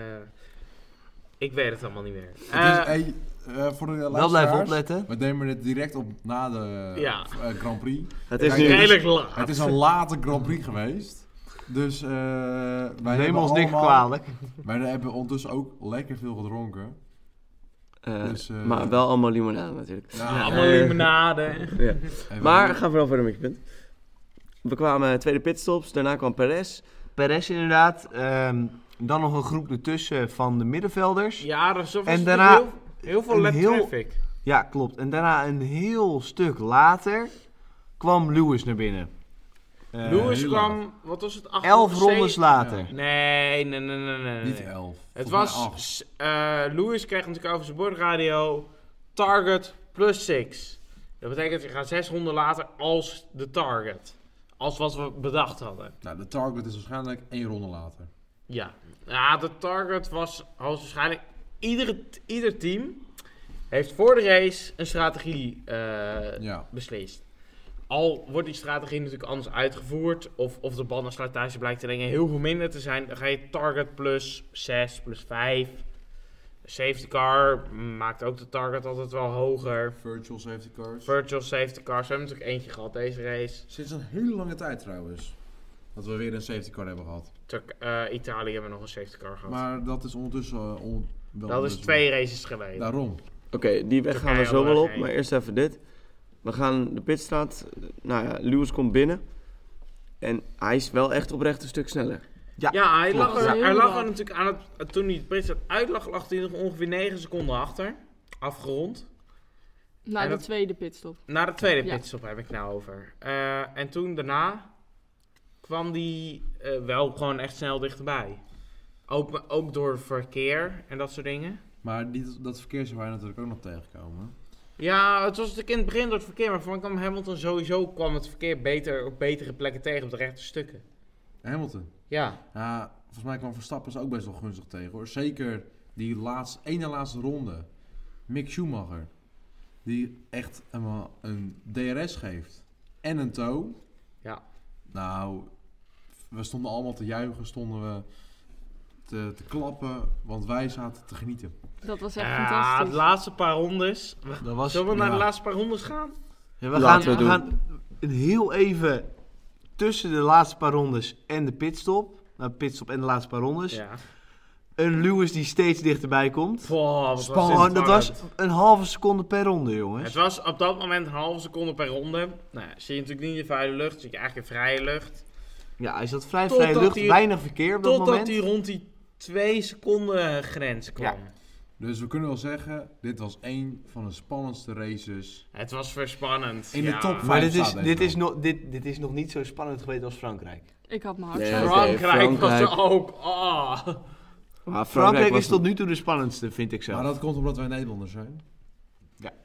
D: ik weet het allemaal niet meer.
C: Het
D: Eh,
C: is, hey, eh, voor de
A: Wel blijven
C: luisteraars,
A: opletten.
C: We nemen dit direct op na de
D: Ja.
C: eh, Grand Prix.
E: Het is
C: Ja,
E: nu...
D: redelijk laat.
C: Het is een late Grand Prix geweest. Dus eh wij
A: Neem
C: hebben
A: ons niks
C: allemaal-
A: kwalijk.
C: Wij hebben ondertussen ook lekker veel gedronken.
E: eh,
C: Dus, eh,
E: maar wel allemaal limonade natuurlijk.
C: Ja,
D: Allemaal
E: eh,
D: limonade.
E: Ja.
C: en we-
E: Maar gaan we wel verder met je punt. We kwamen eh, tweede pitstops, daarna kwam Perez.
A: Perez inderdaad. ehm, dan nog een groep ertussen van de middenvelders. Ja,
D: Ja, er was
A: En daarna
D: heel, heel veel
A: een
D: lap
A: heel-
D: traffic.
A: klopt. En daarna een heel stuk later kwam Lewis naar binnen. Eh,
D: Lewis
C: heel
D: kwam, wat was het? acht
A: elf
D: of
A: rondes
D: zeven-
A: later.
D: Nee, nee, nee, nee, nee.
C: Niet
D: nee.
C: elf.
D: Het
C: volgens mij
D: was,
C: acht.
D: s- eh Lewis kreeg natuurlijk over zijn bordradio, target plus 6. Dat betekent, je gaat zes ronden later als de target. Als wat we bedacht hadden.
C: Nou, de target is waarschijnlijk één ronde later.
D: Ja, ja de target was hoogstwaarschijnlijk... Iedere, ieder team heeft voor de race een strategie eh,
C: Ja.
D: beslist. Al wordt die strategie natuurlijk anders uitgevoerd, of, of de bandensluitage blijkt te dingen heel veel minder te zijn, dan ga je target plus 6, plus 5. Safety car maakt ook de target altijd wel hoger.
C: Virtual safety cars.
D: Virtual safety cars, we hebben natuurlijk eentje gehad deze race.
C: Sinds een hele lange tijd trouwens. Dat we weer een safety car hebben gehad.
D: Turk- eh, Italië hebben we nog een safety car gehad.
C: Maar dat is ondertussen eh, on- wel Nou,
D: dat is
C: ondertussen-
D: twee races geleden.
C: Daarom.
E: Oké, die weg gaan we
D: Turkije
E: zo wel op,
D: overheen.
E: maar eerst even dit. We gaan de pitstraat. Nou ja, Lewis komt binnen. En hij is wel echt oprecht een stuk sneller.
D: Ja, hij
A: Klopt.
D: lag, er,
B: Ja.
D: hij lag er natuurlijk aan het. Toen hij het Brits uitlag, lag hij nog ongeveer 9 seconden achter. Afgerond.
B: Na
D: En
B: Nou, de
D: dat-
B: tweede pitstop.
D: Naar de tweede
B: Ja.
D: pitstop heb ik nou over. Eh, en toen daarna kwam hij eh, wel gewoon echt snel dichterbij. Ook, ook door verkeer en dat soort dingen.
C: Maar die, dat verkeer zou wij natuurlijk ook nog tegenkomen.
D: Ja, het was natuurlijk in het begin door het verkeer, maar voor mij kwam Hamilton sowieso kwam het verkeer beter op betere plekken tegen op de rechte stukken.
C: Hamilton.
D: Ja,
C: Ja, volgens mij kwam Verstappen ze ook best wel gunstig tegen hoor. Zeker die laatste, ene laatste ronde. Mick Schumacher. Die echt een, een DRS geeft. En een toe.
D: Ja.
C: Nou, we stonden allemaal te juichen, stonden we te, te klappen. Want wij zaten te genieten.
B: Dat was echt
D: ja de
B: fantastisch.
D: laatste paar rondes.
A: Dat was,
D: Zullen we naar de
C: ja.
D: laatste paar rondes gaan?
A: Ja, we gaan,
E: Laten
A: we
E: we
A: gaan een heel even tussen de laatste paar rondes en de pitstop. Nou, pitstop en de laatste paar rondes.
D: Ja.
A: Een Lewis die steeds dichterbij komt.
D: Boah, wat was dit
A: Spannend. Oh, Dat was
D: spannend.
A: een halve seconde per ronde, jongens.
D: Het was op dat moment een halve seconde per ronde. Nou, ja, zie je natuurlijk niet in de vuile lucht, zie je eigenlijk in vrije lucht.
A: Ja, hij zat vrij
D: Totdat
A: vrij lucht,
D: hij-
A: weinig verkeer op dat
D: Totdat
A: moment.
D: hij rond die 2 seconden eh, grens kwam.
C: Dus we kunnen wel zeggen, dit was één van de spannendste races.
D: Het was verspannend.
C: In de
D: ja.
C: top
A: Maar
C: vijf
A: dit is,
C: staat
A: dit,
C: deze
A: is nog dit, dit is nog niet zo spannend geweest als Frankrijk.
B: Ik had mijn hart.
E: Nee,
B: zo.
E: oké,
D: Ah, Frankrijk, was
E: Frankrijk.
D: er ook. ah.
E: Ah,
A: Frankrijk
E: was
A: is tot nu toe de spannendste, vind ik zelf.
C: Maar dat komt omdat wij Nederlanders zijn.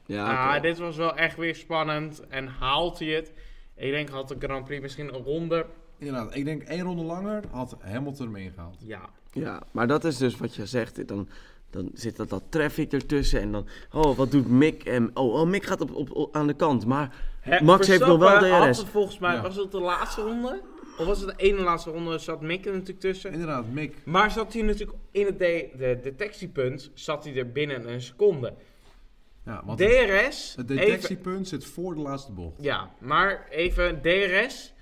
E: Ja,
D: Ah,
E: oké.
D: dit was wel echt weer spannend. En haalt hij het? Ik denk had de Grand Prix misschien een ronde.
C: Inderdaad, ik denk één ronde langer had Hamilton hem ingehaald.
D: Ja.
E: ja, maar dat is dus wat je zegt. Dan, dan zit dat, dat traffic ertussen. En dan, oh, wat doet Mick? En, oh, oh, Mick gaat op, op, op- aan de kant. Maar
D: Hè,
E: Max heeft nog wel
D: Verstappen had
E: DRS.
D: het volgens mij,
C: Ja.
D: was het de laatste ronde? Of was het de ene laatste ronde? Zat Mick er natuurlijk tussen.
C: Inderdaad, Mick.
D: Maar zat hij natuurlijk in het de, de detectiepunt, zat hij er binnen een seconde.
C: Ja, want het,
D: DRS,
C: het
D: even,
C: detectiepunt zit voor de laatste bocht.
D: ja, maar even DRS.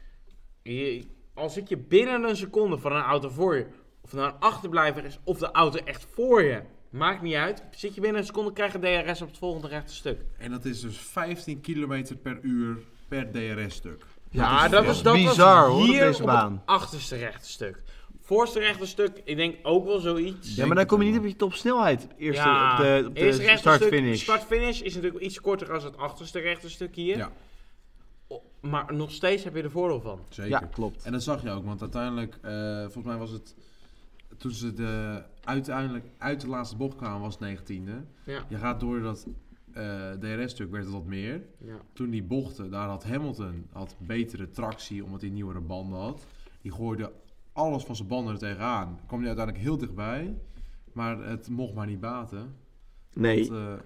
D: Je- al zit je binnen een seconde van een auto voor je, of nou een achterblijver is, of de auto echt voor je, maakt niet uit. Zit je binnen een seconde, krijg je DRS op het volgende rechte stuk.
C: En dat is dus 15 kilometer per uur per DRS-stuk.
D: Ja, dat,
A: dat
D: is,
A: is
D: dat
A: bizar,
D: was
A: hoor, op
D: hier
A: deze
D: Op
A: baan.
D: het achterste rechte stuk. Voorste rechte stuk, ik denk ook wel zoiets.
A: ja, maar dan kom je niet op je topsnelheid. Eerst
D: Ja,
A: op de, op de
D: eerste rechte
A: start-finish.
D: stuk- Start-finish is natuurlijk iets korter als het achterste rechte stuk hier.
C: Ja.
D: O- Maar nog steeds heb je er voordeel van.
C: Zeker.
A: ja, klopt.
C: En dat zag je ook, want uiteindelijk, eh, volgens mij was het, toen ze de, uiteindelijk uit de laatste bocht kwamen, was het 19e.
D: Ja.
C: Je gaat door dat eh, DRS-stuk, werd het wat meer.
D: Ja.
C: Toen die bochten, daar had Hamilton had betere tractie, omdat hij nieuwere banden had. Die gooide alles van zijn banden er tegenaan. Kwam hij uiteindelijk heel dichtbij, maar het mocht maar niet baten.
E: nee,
C: Want, eh,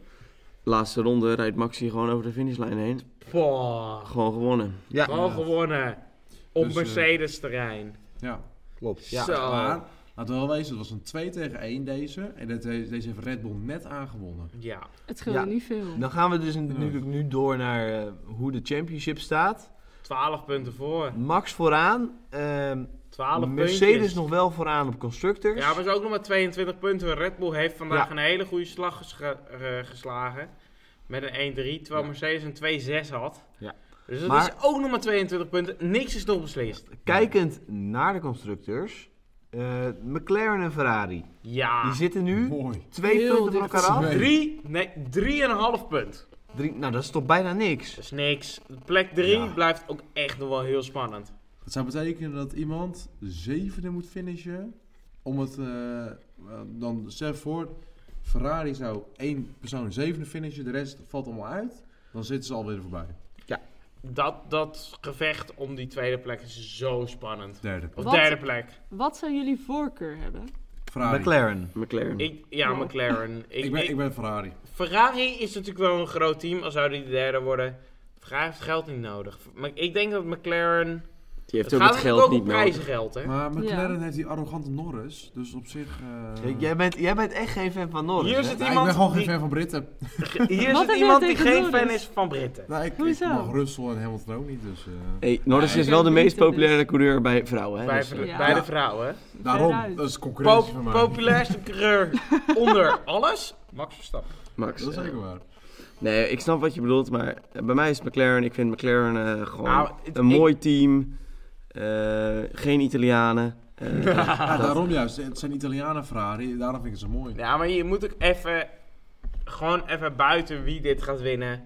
E: laatste ronde rijdt Maxi gewoon over de finishlijn heen.
D: Poh,
E: Gewoon gewonnen.
A: Ja,
D: gewoon
C: Ja.
D: gewonnen. Op
C: Dus, eh,
D: Mercedes-terrein.
C: ja.
A: klopt.
D: Ja.
A: Ja.
D: Zo.
C: Maar, laten we wel wezen, het was een 2 tegen 1 deze. En dat he- deze heeft Red Bull net aangewonnen.
D: Ja.
B: Het scheelde
A: Ja.
B: niet veel.
A: Dan gaan we dus nu, nu door naar eh, hoe de championship staat.
D: 12 punten voor.
A: Max vooraan. ehm,
D: 12
A: Mercedes
D: puntjes.
A: nog wel vooraan op constructors.
D: Ja, maar ze ook nog maar 22 punten. Red Bull heeft vandaag
A: Ja.
D: een hele goede slag ges- ge- eh, geslagen. Met een 1-3, terwijl
A: Ja.
D: Mercedes een 2-6 had.
A: Ja.
D: Dus dat
A: Maar-
D: is ook nog maar 22 punten. Niks is nog beslist.
A: Kijkend naar de constructeurs. eh, McLaren en Ferrari. Die
D: Ja.
A: zitten nu
C: Ah, Mooi.
A: twee
D: Heel
A: punten van
D: dicht
A: elkaar af.
C: bij.
D: Drie, nee, drieënhalf punt.
A: Drie, nou, dat is toch bijna niks.
D: Dat is niks. Plek 3
C: Ja.
D: blijft ook echt nog wel heel spannend.
C: Dat zou betekenen dat iemand de zevende moet finishen. Om het, eh, eh, dan stel voor, Ferrari zou één persoon zevende finishen, de rest valt allemaal uit. Dan zitten ze alweer voorbij.
D: Dat, dat gevecht om die tweede plek is zo spannend.
C: Derde.
D: Of
B: Wat?
D: derde plek.
B: Wat zou jullie voorkeur hebben?
C: Ferrari.
A: McLaren.
E: McLaren.
D: Ik, ja,
B: Wow.
D: McLaren. Ik,
C: Ik ben,
D: ik-
C: ik ben Ferrari.
D: Ferrari is natuurlijk wel een groot team. Al zouden die derde worden. Ferrari heeft geld niet nodig. Maar ik denk dat McLaren...
E: Die heeft
D: het
E: ook het
D: gaat
E: geld
D: ook
E: niet
D: om
E: nodig.
D: prijzengeld, hè?
C: Maar McLaren heeft die arrogante Norris, dus op zich... eh,
A: Kijk, Jij bent, jij bent echt geen fan van Norris.
D: Hier
A: hè?
D: zit
C: nou, ik
D: iemand
C: ben gewoon geen
D: die-
C: fan van Britten.
D: Hier
B: Wat
D: zit
B: heb je
D: iemand die
B: tegen
D: geen
B: Norris?
D: fan is van Britten.
C: Nou, ik, ik
B: Hoezo?
C: mag Russell en Hamilton ook niet, dus... eh,
E: Hey, Norris
B: Ja,
E: is
B: ik
E: wel de
B: denk
E: meest
B: niet dat
E: populaire
B: dit-
E: coureur bij vrouwen. Hè?
D: Bij,
E: Dus,
D: vr-
E: eh,
B: Ja.
D: bij
C: Ja.
D: de vrouwen.
C: daarom,
B: Veruit.
C: dat is
D: Po
C: concurrentie van mij.
D: populairste
E: (laughs)
D: coureur onder alles. Max Verstappen.
E: Max.
C: Dat is
E: eh,
C: zeker waar.
E: nee, ik snap wat je bedoelt, maar eh, bij mij is McLaren. Ik vind McLaren eh, gewoon
D: Nou, het-
E: een
D: ik-
E: mooi team. Eh, geen Italianen. Eh,
D: (laughs)
C: Ja, daarom juist. Het zijn Italianen Ferrari, daarom vind ik het zo mooi.
D: Ja, maar je moet ook even... Gewoon even buiten wie dit gaat winnen.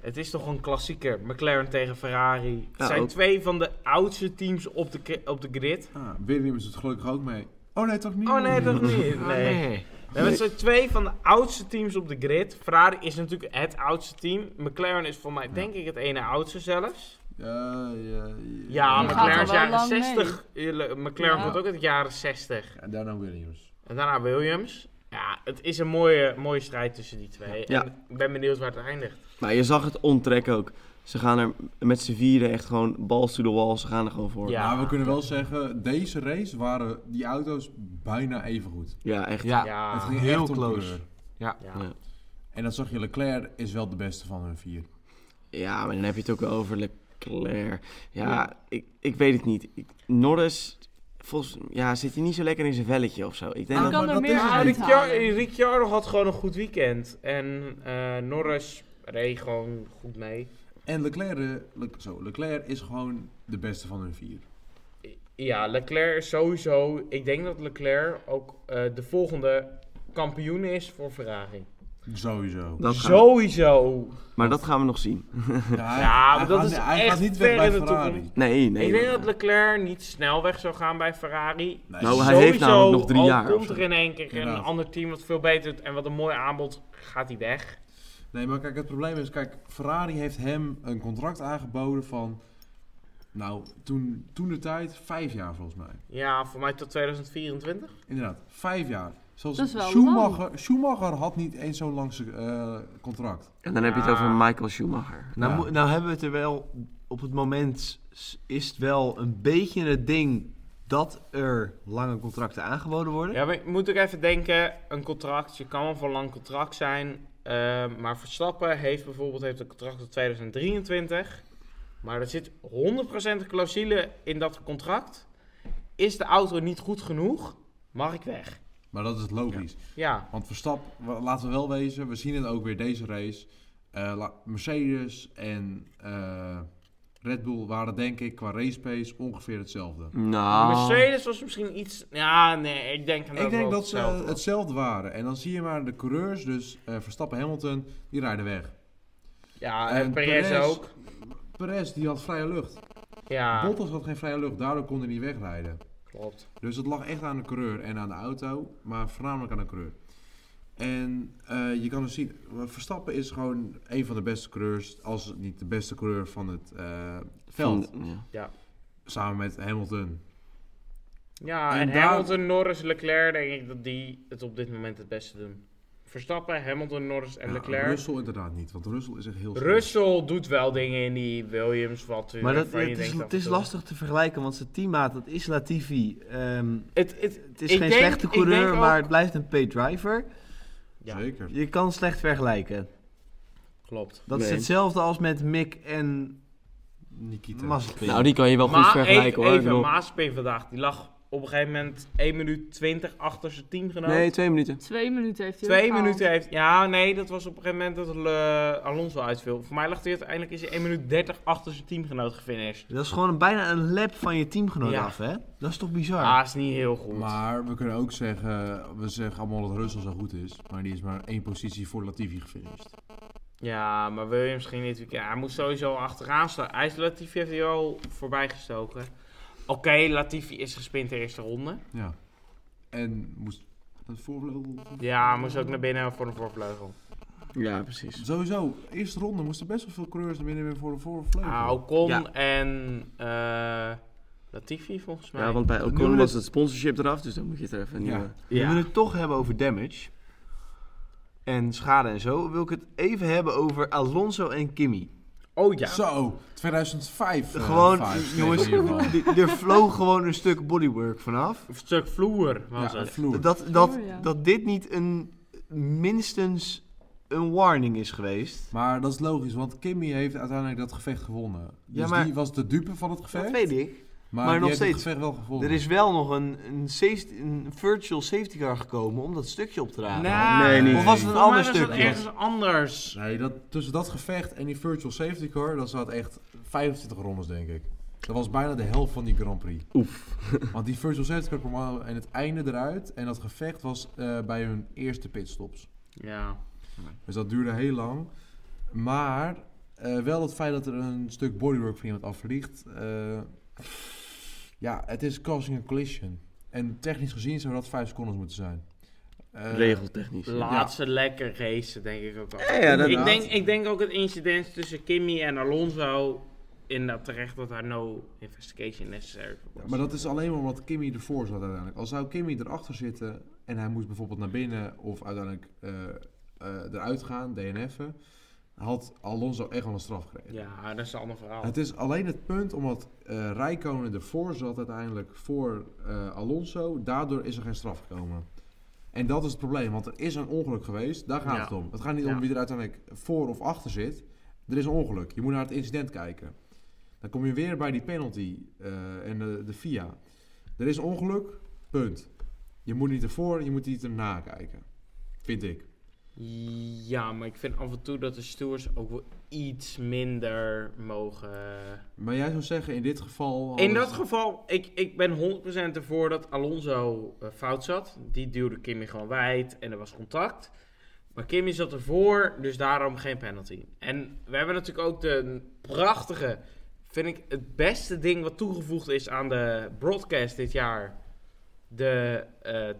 D: Het is toch een klassieker. McLaren tegen Ferrari. Het
E: Ja,
D: zijn
E: ook.
D: twee van de oudste teams op de, ki- op de grid.
C: Ah, Williams doet gelukkig ook mee. (laughs) Oh nee, toch niet?
D: Oh nee, toch niet?
A: Ah,
D: Nee. Nee, maar het zijn twee van de oudste teams op de grid. Ferrari is natuurlijk het oudste team. McLaren is voor mij denk ik het ene oudste zelfs.
C: Ja, ja, ja.
D: Ja,
B: Die
D: McLaren
B: gaat
D: is
B: al wel
D: jaren
B: lang
D: 60. Eh, McLaren
B: Ja.
D: komt ook uit de jaren 60.
C: En daarna Williams.
D: En daarna Williams. Ja, het is een mooie, mooie strijd tussen die twee.
E: Ja.
D: En ik ben benieuwd waar het eindigt.
E: maar je zag het ontrek ook. Ze gaan er met z'n vieren echt gewoon balls to the wall. Ze gaan er gewoon voor.
D: Ja.
E: Ja,
C: Maar Nou, we kunnen wel zeggen, deze race waren die auto's bijna even goed.
E: echt.
A: Ja.
D: ja.
C: het ging
A: heel
C: echt om
A: close.
C: kleur.
D: Ja.
E: Ja.
C: En dat zag je, Leclerc is wel de beste van hun vier.
E: Ja, maar dan heb je het ook wel over Leclerc. Ja, Ik, ik weet het niet. Ik- Norris, volgens ja, zit hij niet zo lekker in zijn velletje of zo. Ik
B: Hij
E: denk
D: Ah.
E: dat...
C: maar
B: kan er
C: dat
B: meer
C: is het.
D: Ja,
B: uit
D: Ricciardo, Ricciardo had gewoon een goed weekend. En eh, Norris reed gewoon goed mee.
C: En Leclerc, eh, Le- zo, Leclerc is gewoon de beste van hun vier.
D: Ja, Leclerc is sowieso. Ik denk dat Leclerc ook eh, de volgende kampioen is voor Ferrari. (laughs)
C: Sowieso.
E: Dat gaan we-
D: Sowieso.
E: maar dat gaan we nog zien.
C: hij-
D: Ja,
C: hij
D: maar dat
C: gaat-
D: is
C: hij gaat
D: echt
C: niet weg
D: ver
C: bij
D: in de
C: Ferrari.
D: toekomst.
E: Nee, nee.
D: ik denk
E: nee.
D: dat Leclerc niet snel weg zou gaan bij Ferrari.
C: Nee.
E: Nou, hij heeft
D: Sowieso,
E: namelijk nog drie
D: al
E: jaar of
D: komt
E: zo.
D: er in één keer een
C: Inderdaad.
D: ander team wat veel beter doet en wat een mooi aanbod, gaat hij weg.
C: Nee, maar kijk, het probleem is, kijk, Ferrari heeft hem een contract aangeboden van, nou, toen, toen de tijd, vijf jaar volgens mij.
D: Ja, voor mij tot 2024.
C: Inderdaad, vijf jaar. Zoals
B: Dat is wel
C: Schumacher, Schumacher had niet eens zo'n lang eh, contract.
E: En dan heb je het
D: Ah.
E: over Michael Schumacher.
A: Nou,
C: Ja.
A: moet- nou hebben we het er wel... Op het moment s- is het wel een beetje het ding dat er lange contracten aangeboden worden.
D: Ja, maar je moet ook even denken, een contract, je kan wel voor een lang contract zijn. eh, maar Verstappen heeft bijvoorbeeld heeft een contract tot 2023. Maar er zit 100% clausule in dat contract. Is de auto niet goed genoeg, mag ik weg.
C: Maar dat is logisch.
D: Ja,
C: Want Verstappen, wa- laten we wel wezen, we zien het ook weer deze race. Eh, la- Mercedes en eh, Red Bull waren denk ik qua race pace ongeveer hetzelfde.
E: Nou,
D: Mercedes was misschien iets... Ja, nee, ik denk dat
C: Ik denk
D: wel
C: dat ze
D: hetzelfde
C: eh,
D: was.
C: hetzelfde waren. En dan zie je maar de coureurs, dus eh, Verstappen Hamilton, die rijden weg.
D: Ja, en
C: En
D: Perez
C: Perez-
D: ook.
C: Perez, die had vrije lucht.
D: Ja,
C: Bottas had geen vrije lucht, daardoor kon hij niet wegrijden.
D: klopt.
C: Dus het lag echt aan de coureur en aan de auto, maar voornamelijk aan de coureur. En eh, je kan dus zien, Verstappen is gewoon een van de beste coureurs, als het niet de beste coureur van het eh, veld.
E: van- ja.
C: Samen met Hamilton.
D: Ja,
C: En
D: en,
C: daar-
D: Hamilton, Norris, Leclerc denk ik dat die het op dit moment het beste doen. Verstappen, Hamilton, Norris en
C: Ja,
D: Leclerc.
C: Russell inderdaad niet, want Russell is echt heel snel.
D: Russell doet wel dingen in die Williams wat
A: Maar dat,
D: waarvan je
A: het, is,
D: denkt eh, af
A: het
D: en
A: is
D: toe.
A: lastig te vergelijken, want zijn teammaat, dat is Latifi. Ehm,
D: Het, het,
A: het is geen
D: Ik denk-
A: slechte
D: ik
A: coureur,
D: denk ook-
A: maar het blijft een pay driver.
D: ja,
C: Zeker.
A: Je kan slecht vergelijken.
D: klopt.
A: Dat is
E: Nee.
A: hetzelfde als met Mick en
C: Nikita.
A: Mazepin.
E: Nou, die kan je wel goed
D: Maar
E: vergelijken
D: even,
E: hoor. Ik
D: even
E: bedoel-
D: Maaspin vandaag, die lag op een gegeven moment 1 minuut 20 achter zijn teamgenoot.
E: Nee, twee minuten.
B: Twee minuten heeft hij
D: Twee
B: opgehaald.
D: minuten heeft... Ja, nee, dat was op een gegeven moment dat eh, Alonso uitviel. Voor mij lag hij uiteindelijk is hij 1 minuut 30 achter zijn teamgenoot gefinished.
A: Dat is gewoon een- bijna een lap van je teamgenoot
D: Ja.
A: af, hè? Dat is toch bizar?
D: Ah, is niet heel goed.
C: Maar we kunnen ook zeggen, we zeggen allemaal dat Russell zo goed is, maar die is maar één positie voor Latifi gefinished.
D: Ja, maar Williams ging dit weekend. Hij moest sowieso achteraan staan. Hij is Latifi heeft hij al voorbij gestoken. Oké, Latifi is gespint de eerste ronde.
C: Ja. En moest het voorbeeld...
D: Ja, moest ook naar binnen voor een voorvleugel.
E: Ja, precies.
C: Sowieso, eerste ronde moesten best wel veel coureurs naar binnen weer voor de voorvleugel.
D: Ah, Ocon
A: Ja.
D: en eh, Latifi volgens mij.
E: Ja, want bij
A: Noemen
E: Ocon
A: we
E: was het sponsorship eraf, dus dan moet je het er even een
C: Ja.
E: nieuwe...
A: Nu
D: Ja.
A: we het toch hebben over damage en schade en zo, wil ik het even hebben over Alonso en Kimi.
D: Oh ja.
C: Zo, 2005. eh,
A: gewoon,
C: vibes kregen
A: jongens,
C: we
A: (laughs)
C: hiervan.
A: d- er vloog gewoon een stuk bodywork vanaf.
D: Een stuk vloer was
C: Ja,
D: het.
C: vloer.
A: Dat, dat,
B: Sure, ja.
A: dat dit niet een minstens een warning is geweest.
C: Maar dat is logisch, want Kimmy heeft uiteindelijk dat gevecht gewonnen. Dus
A: Ja, maar-
C: die was de dupe van het gevecht.
A: Dat weet ik.
C: Maar,
A: Maar
C: die
A: nog
C: heeft
A: steeds.
C: het gevecht wel gevonden.
A: Er is wel nog een, een, safety- een virtual safety car gekomen om dat stukje op te raden.
D: Nou,
E: Nee, niet.
A: Of was het een
D: volgens
A: ander
D: mij was dat
A: stukje?
D: ergens anders.
C: Nee, dat, tussen dat gevecht en die virtual safety car, dat zat echt 25 rondes, denk ik. Dat was bijna de helft van die Grand Prix.
E: Oef.
C: Want die virtual safety car kwam aan aan het einde eruit. En dat gevecht was eh, bij hun eerste pitstops.
D: Ja.
C: Dus dat duurde heel lang. Maar eh, wel het feit dat er een stuk bodywork van iemand afvliegt. eh, ja, het is causing a collision. En technisch gezien zou dat 5 seconden moeten zijn. Eh,
E: Regeltechnisch. ja.
D: Laat ze lekker racen, denk ik ook al.
E: Ja, ja, dat-
D: ik, denk, ik denk ook het incident tussen Kimmy en Alonso. Inderdaad terecht dat daar no investigation necessary voor was.
C: Maar dat is alleen maar omdat Kimmy ervoor zat uiteindelijk. Al zou Kimmy erachter zitten en hij moest bijvoorbeeld naar binnen of uiteindelijk eh, eh, eruit gaan, DNF'en, had Alonso echt wel een straf gekregen.
D: Ja, dat is een ander verhaal.
C: Het is alleen het punt omdat eh Rijkonen ervoor zat uiteindelijk voor eh, Alonso. Daardoor is er geen straf gekomen. En dat is het probleem, want er is een ongeluk geweest. Daar gaat
D: Ja.
C: het om. Het gaat niet
D: Ja.
C: om wie er uiteindelijk voor of achter zit. Er is een ongeluk. Je moet naar het incident kijken. Dan kom je weer bij die penalty eh, en de, de FIA. Er is een ongeluk, punt. Je moet niet ervoor, je moet niet erna kijken. Vind ik.
D: Ja, maar ik vind af en toe dat de stewards ook wel iets minder mogen. eh,
C: Maar jij zou zeggen, in dit geval... hadden
D: In dat
C: ze-
D: geval, ik, ik ben 100% ervoor dat Alonso eh, fout zat. Die duwde Kimmy gewoon wijd en er was contact. Maar Kimmy zat ervoor, dus daarom geen penalty. En we hebben natuurlijk ook de prachtige, vind ik het beste ding wat toegevoegd is aan de broadcast dit jaar. De eh,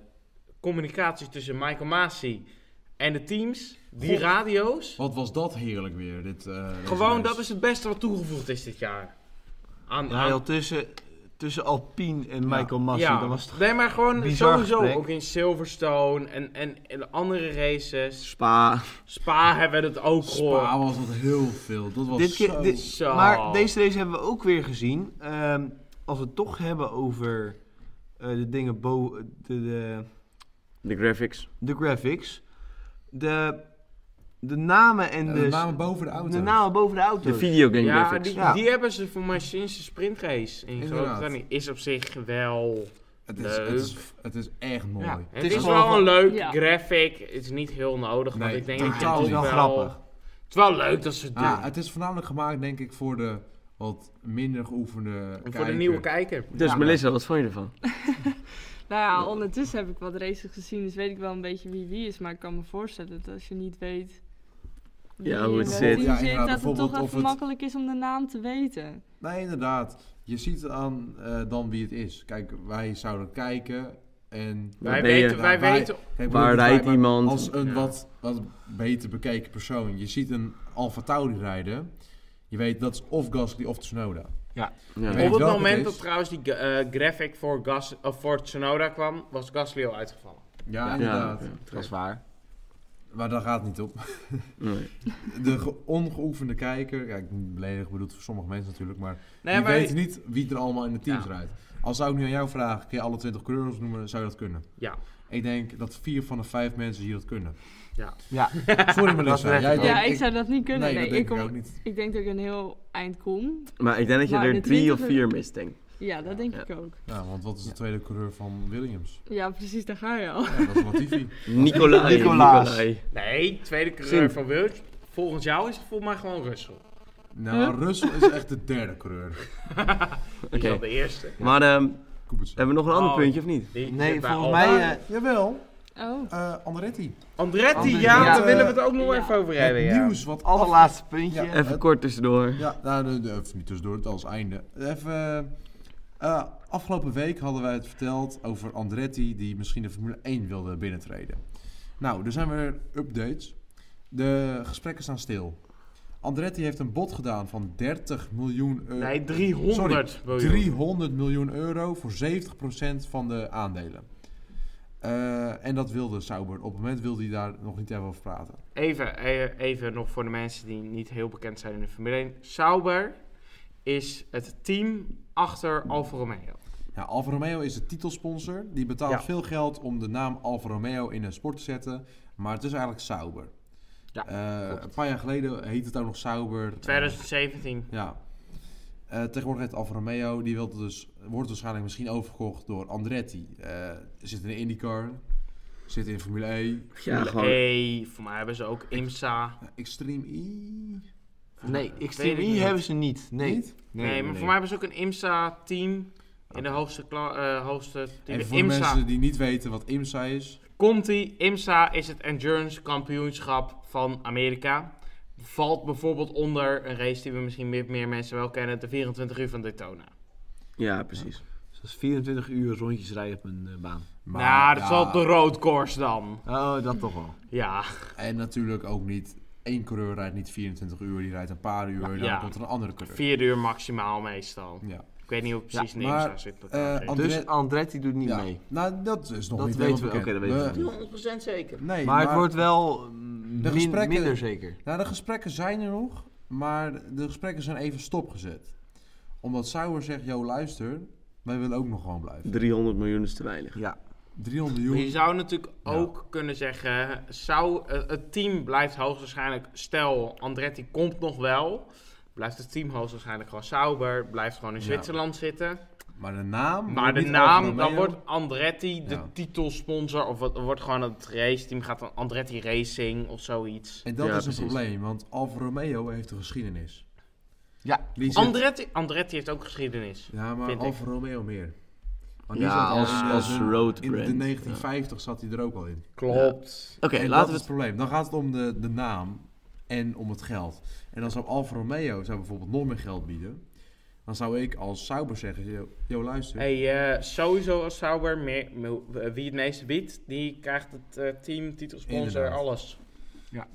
D: communicatie tussen Michael Masi en de teams, die
C: God.
D: radio's.
C: Wat was dat heerlijk weer, dit... eh, deze
D: Gewoon,
C: race.
D: dat is het beste wat toegevoegd is dit jaar. Aan,
A: Ja,
D: aan-
A: joh, tussen, tussen Alpine en Michael Massi, dat was toch...
D: nee, maar gewoon
A: bizar
D: sowieso
A: gesprek.
D: ook in Silverstone en, en, en andere races.
E: Spa.
D: Spa hebben we het ook gehoord.
C: Spa was dat heel veel. Dat was
A: Dit keer-
C: Oh, zo...
A: dit-
D: Zo.
A: Maar deze race hebben we ook weer gezien. Ehm, als we het toch hebben over eh, de dingen bo de, de,
E: De graphics.
A: de graphics. De, de namen en
C: Ja,
A: de,
D: dus
C: de namen boven de auto's.
A: de namen boven de auto's.
E: De videogame
D: ja,
E: graphics.
D: die,
A: Ja.
D: die hebben ze voor mij sinds de sprintrace in
C: Inderdaad.
D: Groot-Brittannië. Is op zich wel...
C: Het is, het,
D: Leuk.
C: is, het is echt mooi. Ah,
D: Ja, het,
A: Het
D: is,
A: is
D: wel
A: gewoon-
D: een leuk
B: Ja.
D: graphic. Het is niet heel nodig, want
C: Nee,
D: ik denk dat
C: totaal
D: je
C: niet.
D: toch
A: Het is wel grappig.
D: Het is wel leuk dat ze het doen.
C: Ah, het is voornamelijk gemaakt, denk ik, voor de wat minder geoefende
D: voor de
C: kijker.
D: nieuwe kijker.
E: Dus
C: Ja.
E: Melissa, wat vond je ervan?
B: Nou ja, ondertussen heb ik wat races gezien, dus weet ik wel een beetje wie wie is. Maar ik kan me voorstellen dat als je niet weet wie
E: Ja, hoe
B: in
E: het
B: welk
E: zit.
B: team
C: Ja,
B: zit,
C: inderdaad,
B: dat het
C: bijvoorbeeld
B: toch
C: of
B: even
C: het-
B: makkelijk is om de naam te weten.
C: Nee, inderdaad. Je ziet aan eh, dan wie het is. Kijk, wij zouden kijken en...
D: Wij
E: ben je?
D: weten, wij
C: Ja, eh, wij-
D: weten...
C: Kijk,
E: Waar
C: bedoel,
E: rijdt
C: wij-
E: iemand?
C: Als een
D: Ja.
C: wat, wat beter bekeken persoon. Je ziet een Alfa Tauri rijden. Je weet, dat is of Gasly of Tsunoda.
E: Ja.
C: weet
D: Op het
C: welke het
D: moment
C: is.
D: dat trouwens die eh, graphic voor, Gas, of voor Tsunoda kwam, was Gasly al uitgevallen.
C: Ja,
E: Ja,
C: inderdaad.
E: ja,
D: dat is
E: waar.
C: Maar daar gaat het niet op.
E: Nee.
C: De ge- ongeoefende kijker... Kijk, niet beledig bedoeld voor sommige mensen natuurlijk, maar...
D: Nee,
C: je
D: maar
C: weet niet wie er allemaal in de teams
D: Ja.
C: rijdt. Als zou ik nu aan jou vragen, kun je alle 20 kleuren noemen, zou je dat kunnen?
D: Ja.
C: Ik denk dat vier van de vijf mensen hier dat kunnen.
A: Ja,
C: (laughs) Sorry
A: Dat
C: Melissa,
A: weet
C: jij
A: ik
B: Ja,
C: denkt-
B: ik zou dat niet kunnen.
C: Nee,
B: Nee,
C: dat
B: ik,
C: denk ik
B: kom-
C: ook niet.
B: ik denk dat ik een heel eind kom.
E: Maar ik denk dat je
B: Maar
E: er
B: de
E: drie of
B: 20e
E: vier mist, denk ik.
B: Ja, dat denk
E: Ja.
B: ik ook.
C: Ja, Nou, want wat is de tweede coureur van Williams?
B: Ja, precies, daar ga je al.
C: Ja, dat is (laughs) Latifi.
E: Nicolai.
A: Nicolaas.
E: Nicolai.
D: Nee, tweede coureur
E: Zin.
D: van Williams. Volgens jou is het volgens mij gewoon Russell.
C: Nou, Russell is echt de derde coureur.
D: Die
E: Oké.
D: is al de eerste.
E: Maar ehm,
C: Kubica.
E: hebben we nog een ander
D: Oh.
E: puntje of niet?
D: Die
A: nee,
D: zit bij
A: volgens
D: Alba.
A: mij... eh,
C: Jawel,
B: Oh.
C: eh Andretti.
D: Andretti,
A: Andretti,
D: ja,
A: ja.
D: daar willen we het ook nog
B: Ja.
D: even over hebben.
C: Het
D: Ja.
C: nieuws wat af...
A: allerlaatste puntje.
C: Ja.
E: Even
C: het-
E: kort tussendoor.
C: Ja, nou, de- de- even niet tussendoor, het als einde. Even, eh, eh, afgelopen week hadden wij het verteld over Andretti die misschien de Formule 1 wilde binnentreden. Nou, er zijn weer updates. De gesprekken staan stil. Andretti heeft een bod gedaan van 30 miljoen euro.
D: Nee, 300 miljoen.
C: 300 miljoen euro voor 70% van de aandelen. Eh, en dat wilde Sauber. Op het moment wilde hij daar nog niet even over praten.
D: Even, eh, even nog voor de mensen die niet heel bekend zijn in de Formule 1. Sauber is het team achter Alfa Romeo.
C: Ja, Alfa Romeo is de titelsponsor. Die betaalt
D: Ja.
C: veel geld om de naam Alfa Romeo in een sport te zetten. Maar het is eigenlijk Sauber.
D: Ja,
C: Eh,
D: klopt.
C: een paar jaar geleden heette het ook nog Sauber. Eh,
D: 2017.
C: ja. Eh, tegenwoordig heet het Alfa Romeo. Die wilde dus, wordt waarschijnlijk misschien overgekocht door Andretti. Eh, zit in de IndyCar. Zit in Formule E.
E: Ja, gewoon.
D: hey, voor mij hebben ze ook IMSA.
C: Eh, Extreme E.
A: Nee,
D: Weet ik
A: Extreme
D: niet.
A: E hebben ze niet. Nee.
C: Niet?
D: Nee, maar voor mij hebben ze ook een IMSA-team. In de hoogste, kla- eh, hoogste team.
C: En voor de
D: IMSA.
C: mensen die niet weten wat IMSA is.
D: Conti, IMSA is het endurance kampioenschap van Amerika. Valt bijvoorbeeld onder een race die we misschien meer, meer mensen wel kennen, de 24 uur van Daytona.
E: Ja, precies.
A: Dus dat is 24 uur rondjes rijden op een eh, baan.
C: Maar,
D: nou, dat
C: ja,
D: is wel de roodkoers dan.
A: Oh, dat toch wel.
D: Ja,
C: En natuurlijk ook niet. één coureur rijdt niet 24 uur. Die rijdt een paar uur. Dan
D: ja.
C: komt er een andere coureur.
D: 4 uur maximaal meestal.
C: Ja.
D: Ik weet niet hoe precies
C: Ja,
D: in de
C: maar,
D: IMSA zit.
C: eh,
D: Uh,
C: André-
A: Dus Andretti doet niet
C: ja.
A: mee.
C: Nou, dat is nog
A: Dat
C: niet
A: weten we,
C: helemaal
E: oké,
C: bekend.
E: dat weten we.
D: 100% zeker.
C: Nee,
A: Maar het wordt wel mm, min-
C: gesprekken-
A: minder zeker.
C: Nou, de gesprekken zijn er nog. Maar de gesprekken zijn even stopgezet. Omdat Sauer zegt, yo luister. Wij willen ook nog gewoon blijven.
E: 300 miljoen is te weinig.
A: Ja.
C: 300
D: Je
C: miljoen.
D: zou natuurlijk
C: Ja.
D: ook kunnen zeggen, zou, eh, het team blijft hoogstwaarschijnlijk, stel Andretti komt nog wel, blijft het team hoogstwaarschijnlijk gewoon sauber, blijft gewoon in
C: Ja.
D: Zwitserland zitten.
C: Maar de naam...
D: Maar de
C: niet Alfa
D: naam,
C: Romeo.
D: dan wordt Andretti de
C: Ja.
D: titelsponsor. Of wat- wordt gewoon het race team gaat dan Andretti Racing of zoiets.
C: En dat
E: Ja,
C: is een
E: precies.
C: probleem, want Alfa Romeo heeft een geschiedenis.
A: Ja.
C: Die zit-
D: Andretti, Andretti heeft ook geschiedenis.
C: Ja, maar
D: vind ik.
C: Alfa Romeo meer. Want die
E: Ja,
C: zat
E: als,
D: Ja.
E: als
C: in-
E: road
C: In
E: brand.
C: de 1950 zat hij er ook al in.
D: Klopt.
E: Oké,
C: En
E: laten
C: dat
E: we
C: is het probleem. Dan gaat het om de, de naam en om het geld. En dan zou Alfa Romeo zou bijvoorbeeld nog meer geld bieden. Dan zou ik als Sauber zeggen, yo, yo, luister.
D: Hey, eh, sowieso als Sauber, meer, me- eh, wie het meeste biedt, die krijgt het eh, team, titelsponsor,
C: Inderdaad.
D: alles.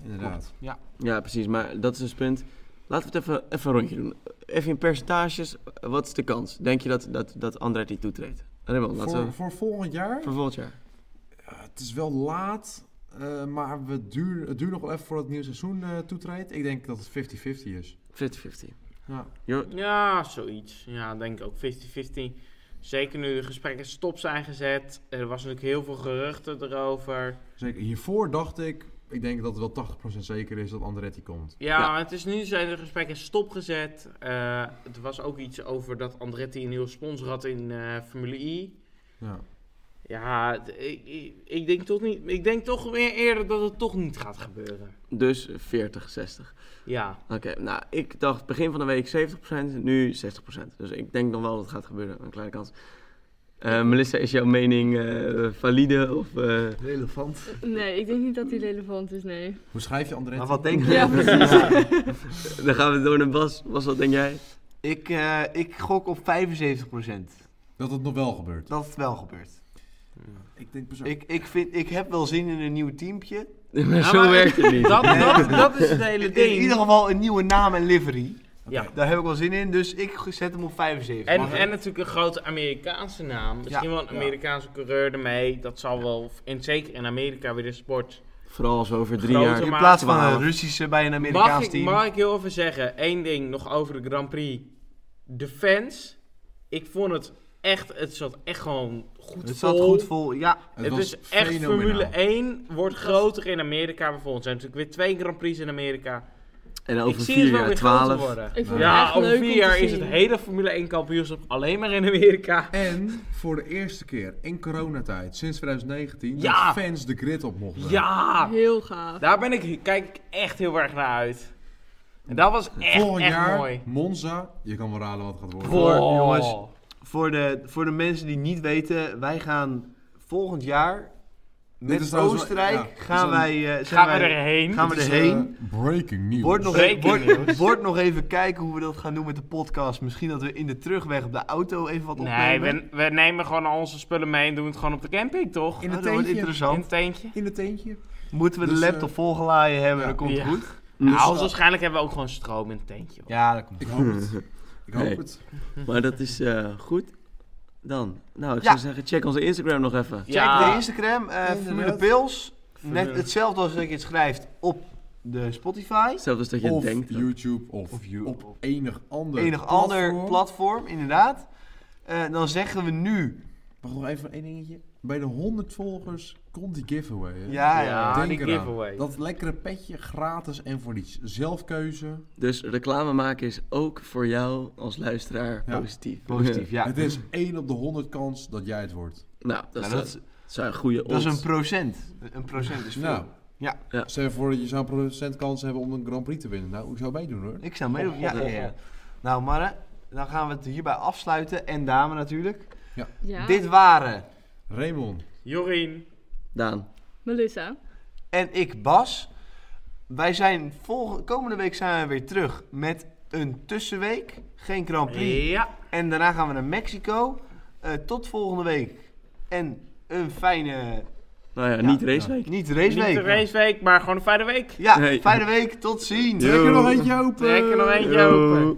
C: Inderdaad.
A: Ja.
E: Ja, precies. Maar dat is dus het punt. Laten we het even, even een rondje doen. Even in percentages. Wat is de kans? Denk je dat, dat, dat Andretti toetreedt? Raymond, laten
C: Voor,
E: we...
C: voor volgend jaar,
E: Voor volgend jaar.
C: eh, het is wel laat, eh, maar we duur, het duurt nog wel even voordat het nieuwe seizoen eh, toetreedt. Ik denk dat het 50-50 is.
E: 50-50.
C: Ja.
E: Jo-
D: Ja, zoiets. Ja, denk ik ook 50-50. Zeker nu de gesprekken stop zijn gezet. Er was natuurlijk heel veel geruchten erover.
C: Zeker. Hiervoor dacht ik, ik denk dat het wel 80% zeker is dat Andretti komt.
D: Ja,
E: Ja.
D: maar het is nu zijn de gesprekken stopgezet. Eh er was ook iets over dat Andretti een nieuwe sponsor had in eh, Formule I.
C: Ja.
D: Ja, d- ik, ik, ik denk toch niet. Ik denk toch weer eerder dat het toch niet gaat gebeuren.
E: Dus 40, 60.
D: Ja,
E: Oké, nou, ik dacht begin van de week 70%, nu 60%. Dus ik denk nog wel dat het gaat gebeuren. Een kleine kans. Eh, Melissa, is jouw mening eh, valide? Of, eh,
A: Relevant.
B: Nee, ik denk niet dat die relevant is, nee.
C: Hoe schrijf je Andretti?
A: Maar wat denk je?
B: Ja, (laughs) precies.
E: dan gaan we door naar Bas. Bas, wat denk jij? (laughs)
A: Ik, eh, ik gok op 75%
C: Dat het nog wel gebeurt.
A: dat het wel gebeurt.
C: Ik denk persoonlijk.
A: Ik, ik, vind, ik heb wel zin in een nieuw teampje.
E: maar
D: Ja,
E: zo
D: Nou, maar-
E: werkt
D: (laughs)
E: het niet.
D: dat,
E: (laughs)
D: dat, dat is het hele
A: In,
D: ding.
A: ieder geval een nieuwe naam en livery.
D: Ja.
A: Daar heb ik wel zin in, dus ik zet hem op 75.
D: En, en natuurlijk een grote Amerikaanse naam. Misschien
A: Ja.
D: wel een Amerikaanse coureur ermee. Dat zal wel, en zeker in Amerika weer de sport.
E: Vooral als we over drie
D: Grote
E: jaar...
A: in
D: maar-
A: plaats van
E: maar-
A: een Russische bij een
D: Mag
A: Amerikaans
D: ik,
A: team.
D: mag ik heel even zeggen, één ding nog over de Grand Prix. De fans, ik vond het echt, het zat echt gewoon goed
A: het
D: vol.
A: zat goed vol. Ja,
D: Het, is echt Formule 1 wordt groter in Amerika bijvoorbeeld. Er zijn natuurlijk weer twee Grand Prix in Amerika.
E: En
D: ik
E: over
D: zie
E: vier
D: het wel
E: jaar,
D: weer groter
E: 12.
D: worden.
B: Ik vond het
D: Ja,
B: echt
D: over
B: leuk om
D: vier
B: te
D: jaar is
B: zien.
D: het hele Formule 1 kampioenschap alleen maar in Amerika.
C: En voor de eerste keer in coronatijd sinds 2019
D: Ja.
C: dat fans de grid op mochten.
D: Ja!
B: Heel gaaf.
D: Daar ben ik, kijk ik echt heel erg naar uit. En dat was echt,
C: Volgend
D: echt
C: jaar
D: mooi.
C: Monza, je kan wel raden wat het gaat worden.
A: Voor-
D: Wow.
A: jongens. voor de, voor de mensen die niet weten, wij gaan volgend jaar met
C: is trouwens wel-
A: Oostenrijk
C: ja, dit is
A: gaan
C: een-
A: wij, eh, zijn
D: Gaan we
A: wij-
D: erheen?
A: gaan we
C: Dit is,
A: erheen.
C: eh, breaking news.
A: Word nog, (laughs)
D: Breaking
A: word, word nog even kijken hoe we dat gaan doen met de podcast. Misschien dat we in de terugweg op de auto even wat opnemen.
D: Nee, we, we nemen gewoon al onze spullen mee en doen het gewoon op de camping, toch?
C: in
A: Oh,
C: het
A: dat wordt
C: teentje.
D: In
A: interessant.
D: het teentje.
C: In het teentje.
A: Moeten we de
C: Dus, eh,
A: laptop volgeladen hebben,
C: ja.
A: dan komt het
D: Ja.
A: goed.
D: Nou, waarschijnlijk hebben we ook gewoon stroom in het teentje. hoor.
A: Ja, dat komt
C: Ik hoop het. Ik hoop
E: Nee.
C: het.
E: Maar dat is eh, goed. Dan, nou, ik
A: Ja.
E: zou zeggen, check onze Instagram nog even.
A: Check de Instagram, eh Formule Pils. Net hetzelfde als dat je het schrijft op de Spotify.
E: Zelfs als dat je
C: of
E: denkt.
C: YouTube of,
A: Of you-
C: op enig ander
A: Enig ander platform, inderdaad. Eh, dan zeggen we nu.
C: Wacht nog even één dingetje. Bij de 100 volgers komt die giveaway. hè?
A: Ja, ja.
D: Ja, die
C: eraan.
D: giveaway.
C: Dat lekkere petje gratis en voor niets. Zelfkeuze.
E: Dus reclame maken is ook voor jou als luisteraar
C: Ja.
E: positief.
A: Positief, ja.
C: Het is 1 op de 100 kans dat jij het wordt.
E: (laughs) nou, dat,
A: Nou,
E: is
A: dat, is,
E: dat zijn goede
A: dat is
E: odds.
A: een procent. Een procent is veel.
C: Nou,
A: Ja.
E: Ja.
C: stel je voor dat je zo'n procent kans hebben om een Grand Prix te winnen. Nou, ik zou meedoen hoor.
A: Ik zou meedoen. Ja, ja, ja. Nou, Marre, dan gaan we het hierbij afsluiten. En dame natuurlijk.
B: Ja.
A: Dit waren
C: Raymond,
D: Jorien.
E: Daan.
B: Melissa.
A: en ik, Bas. Wij zijn volgende, komende week zijn we weer terug met een tussenweek. Geen Grand Prix.
D: Ja.
A: En daarna gaan we naar Mexico. Eh, tot volgende week. En een fijne,
E: Nou ja, niet
A: niet
E: raceweek.
D: Niet
A: raceweek.
D: de raceweek, maar gewoon een fijne week.
A: Ja,
E: Nee.
A: fijne week. Tot ziens.
E: Yo.
C: trek er nog eentje open.
D: Trek er nog eentje
E: Yo.
D: open.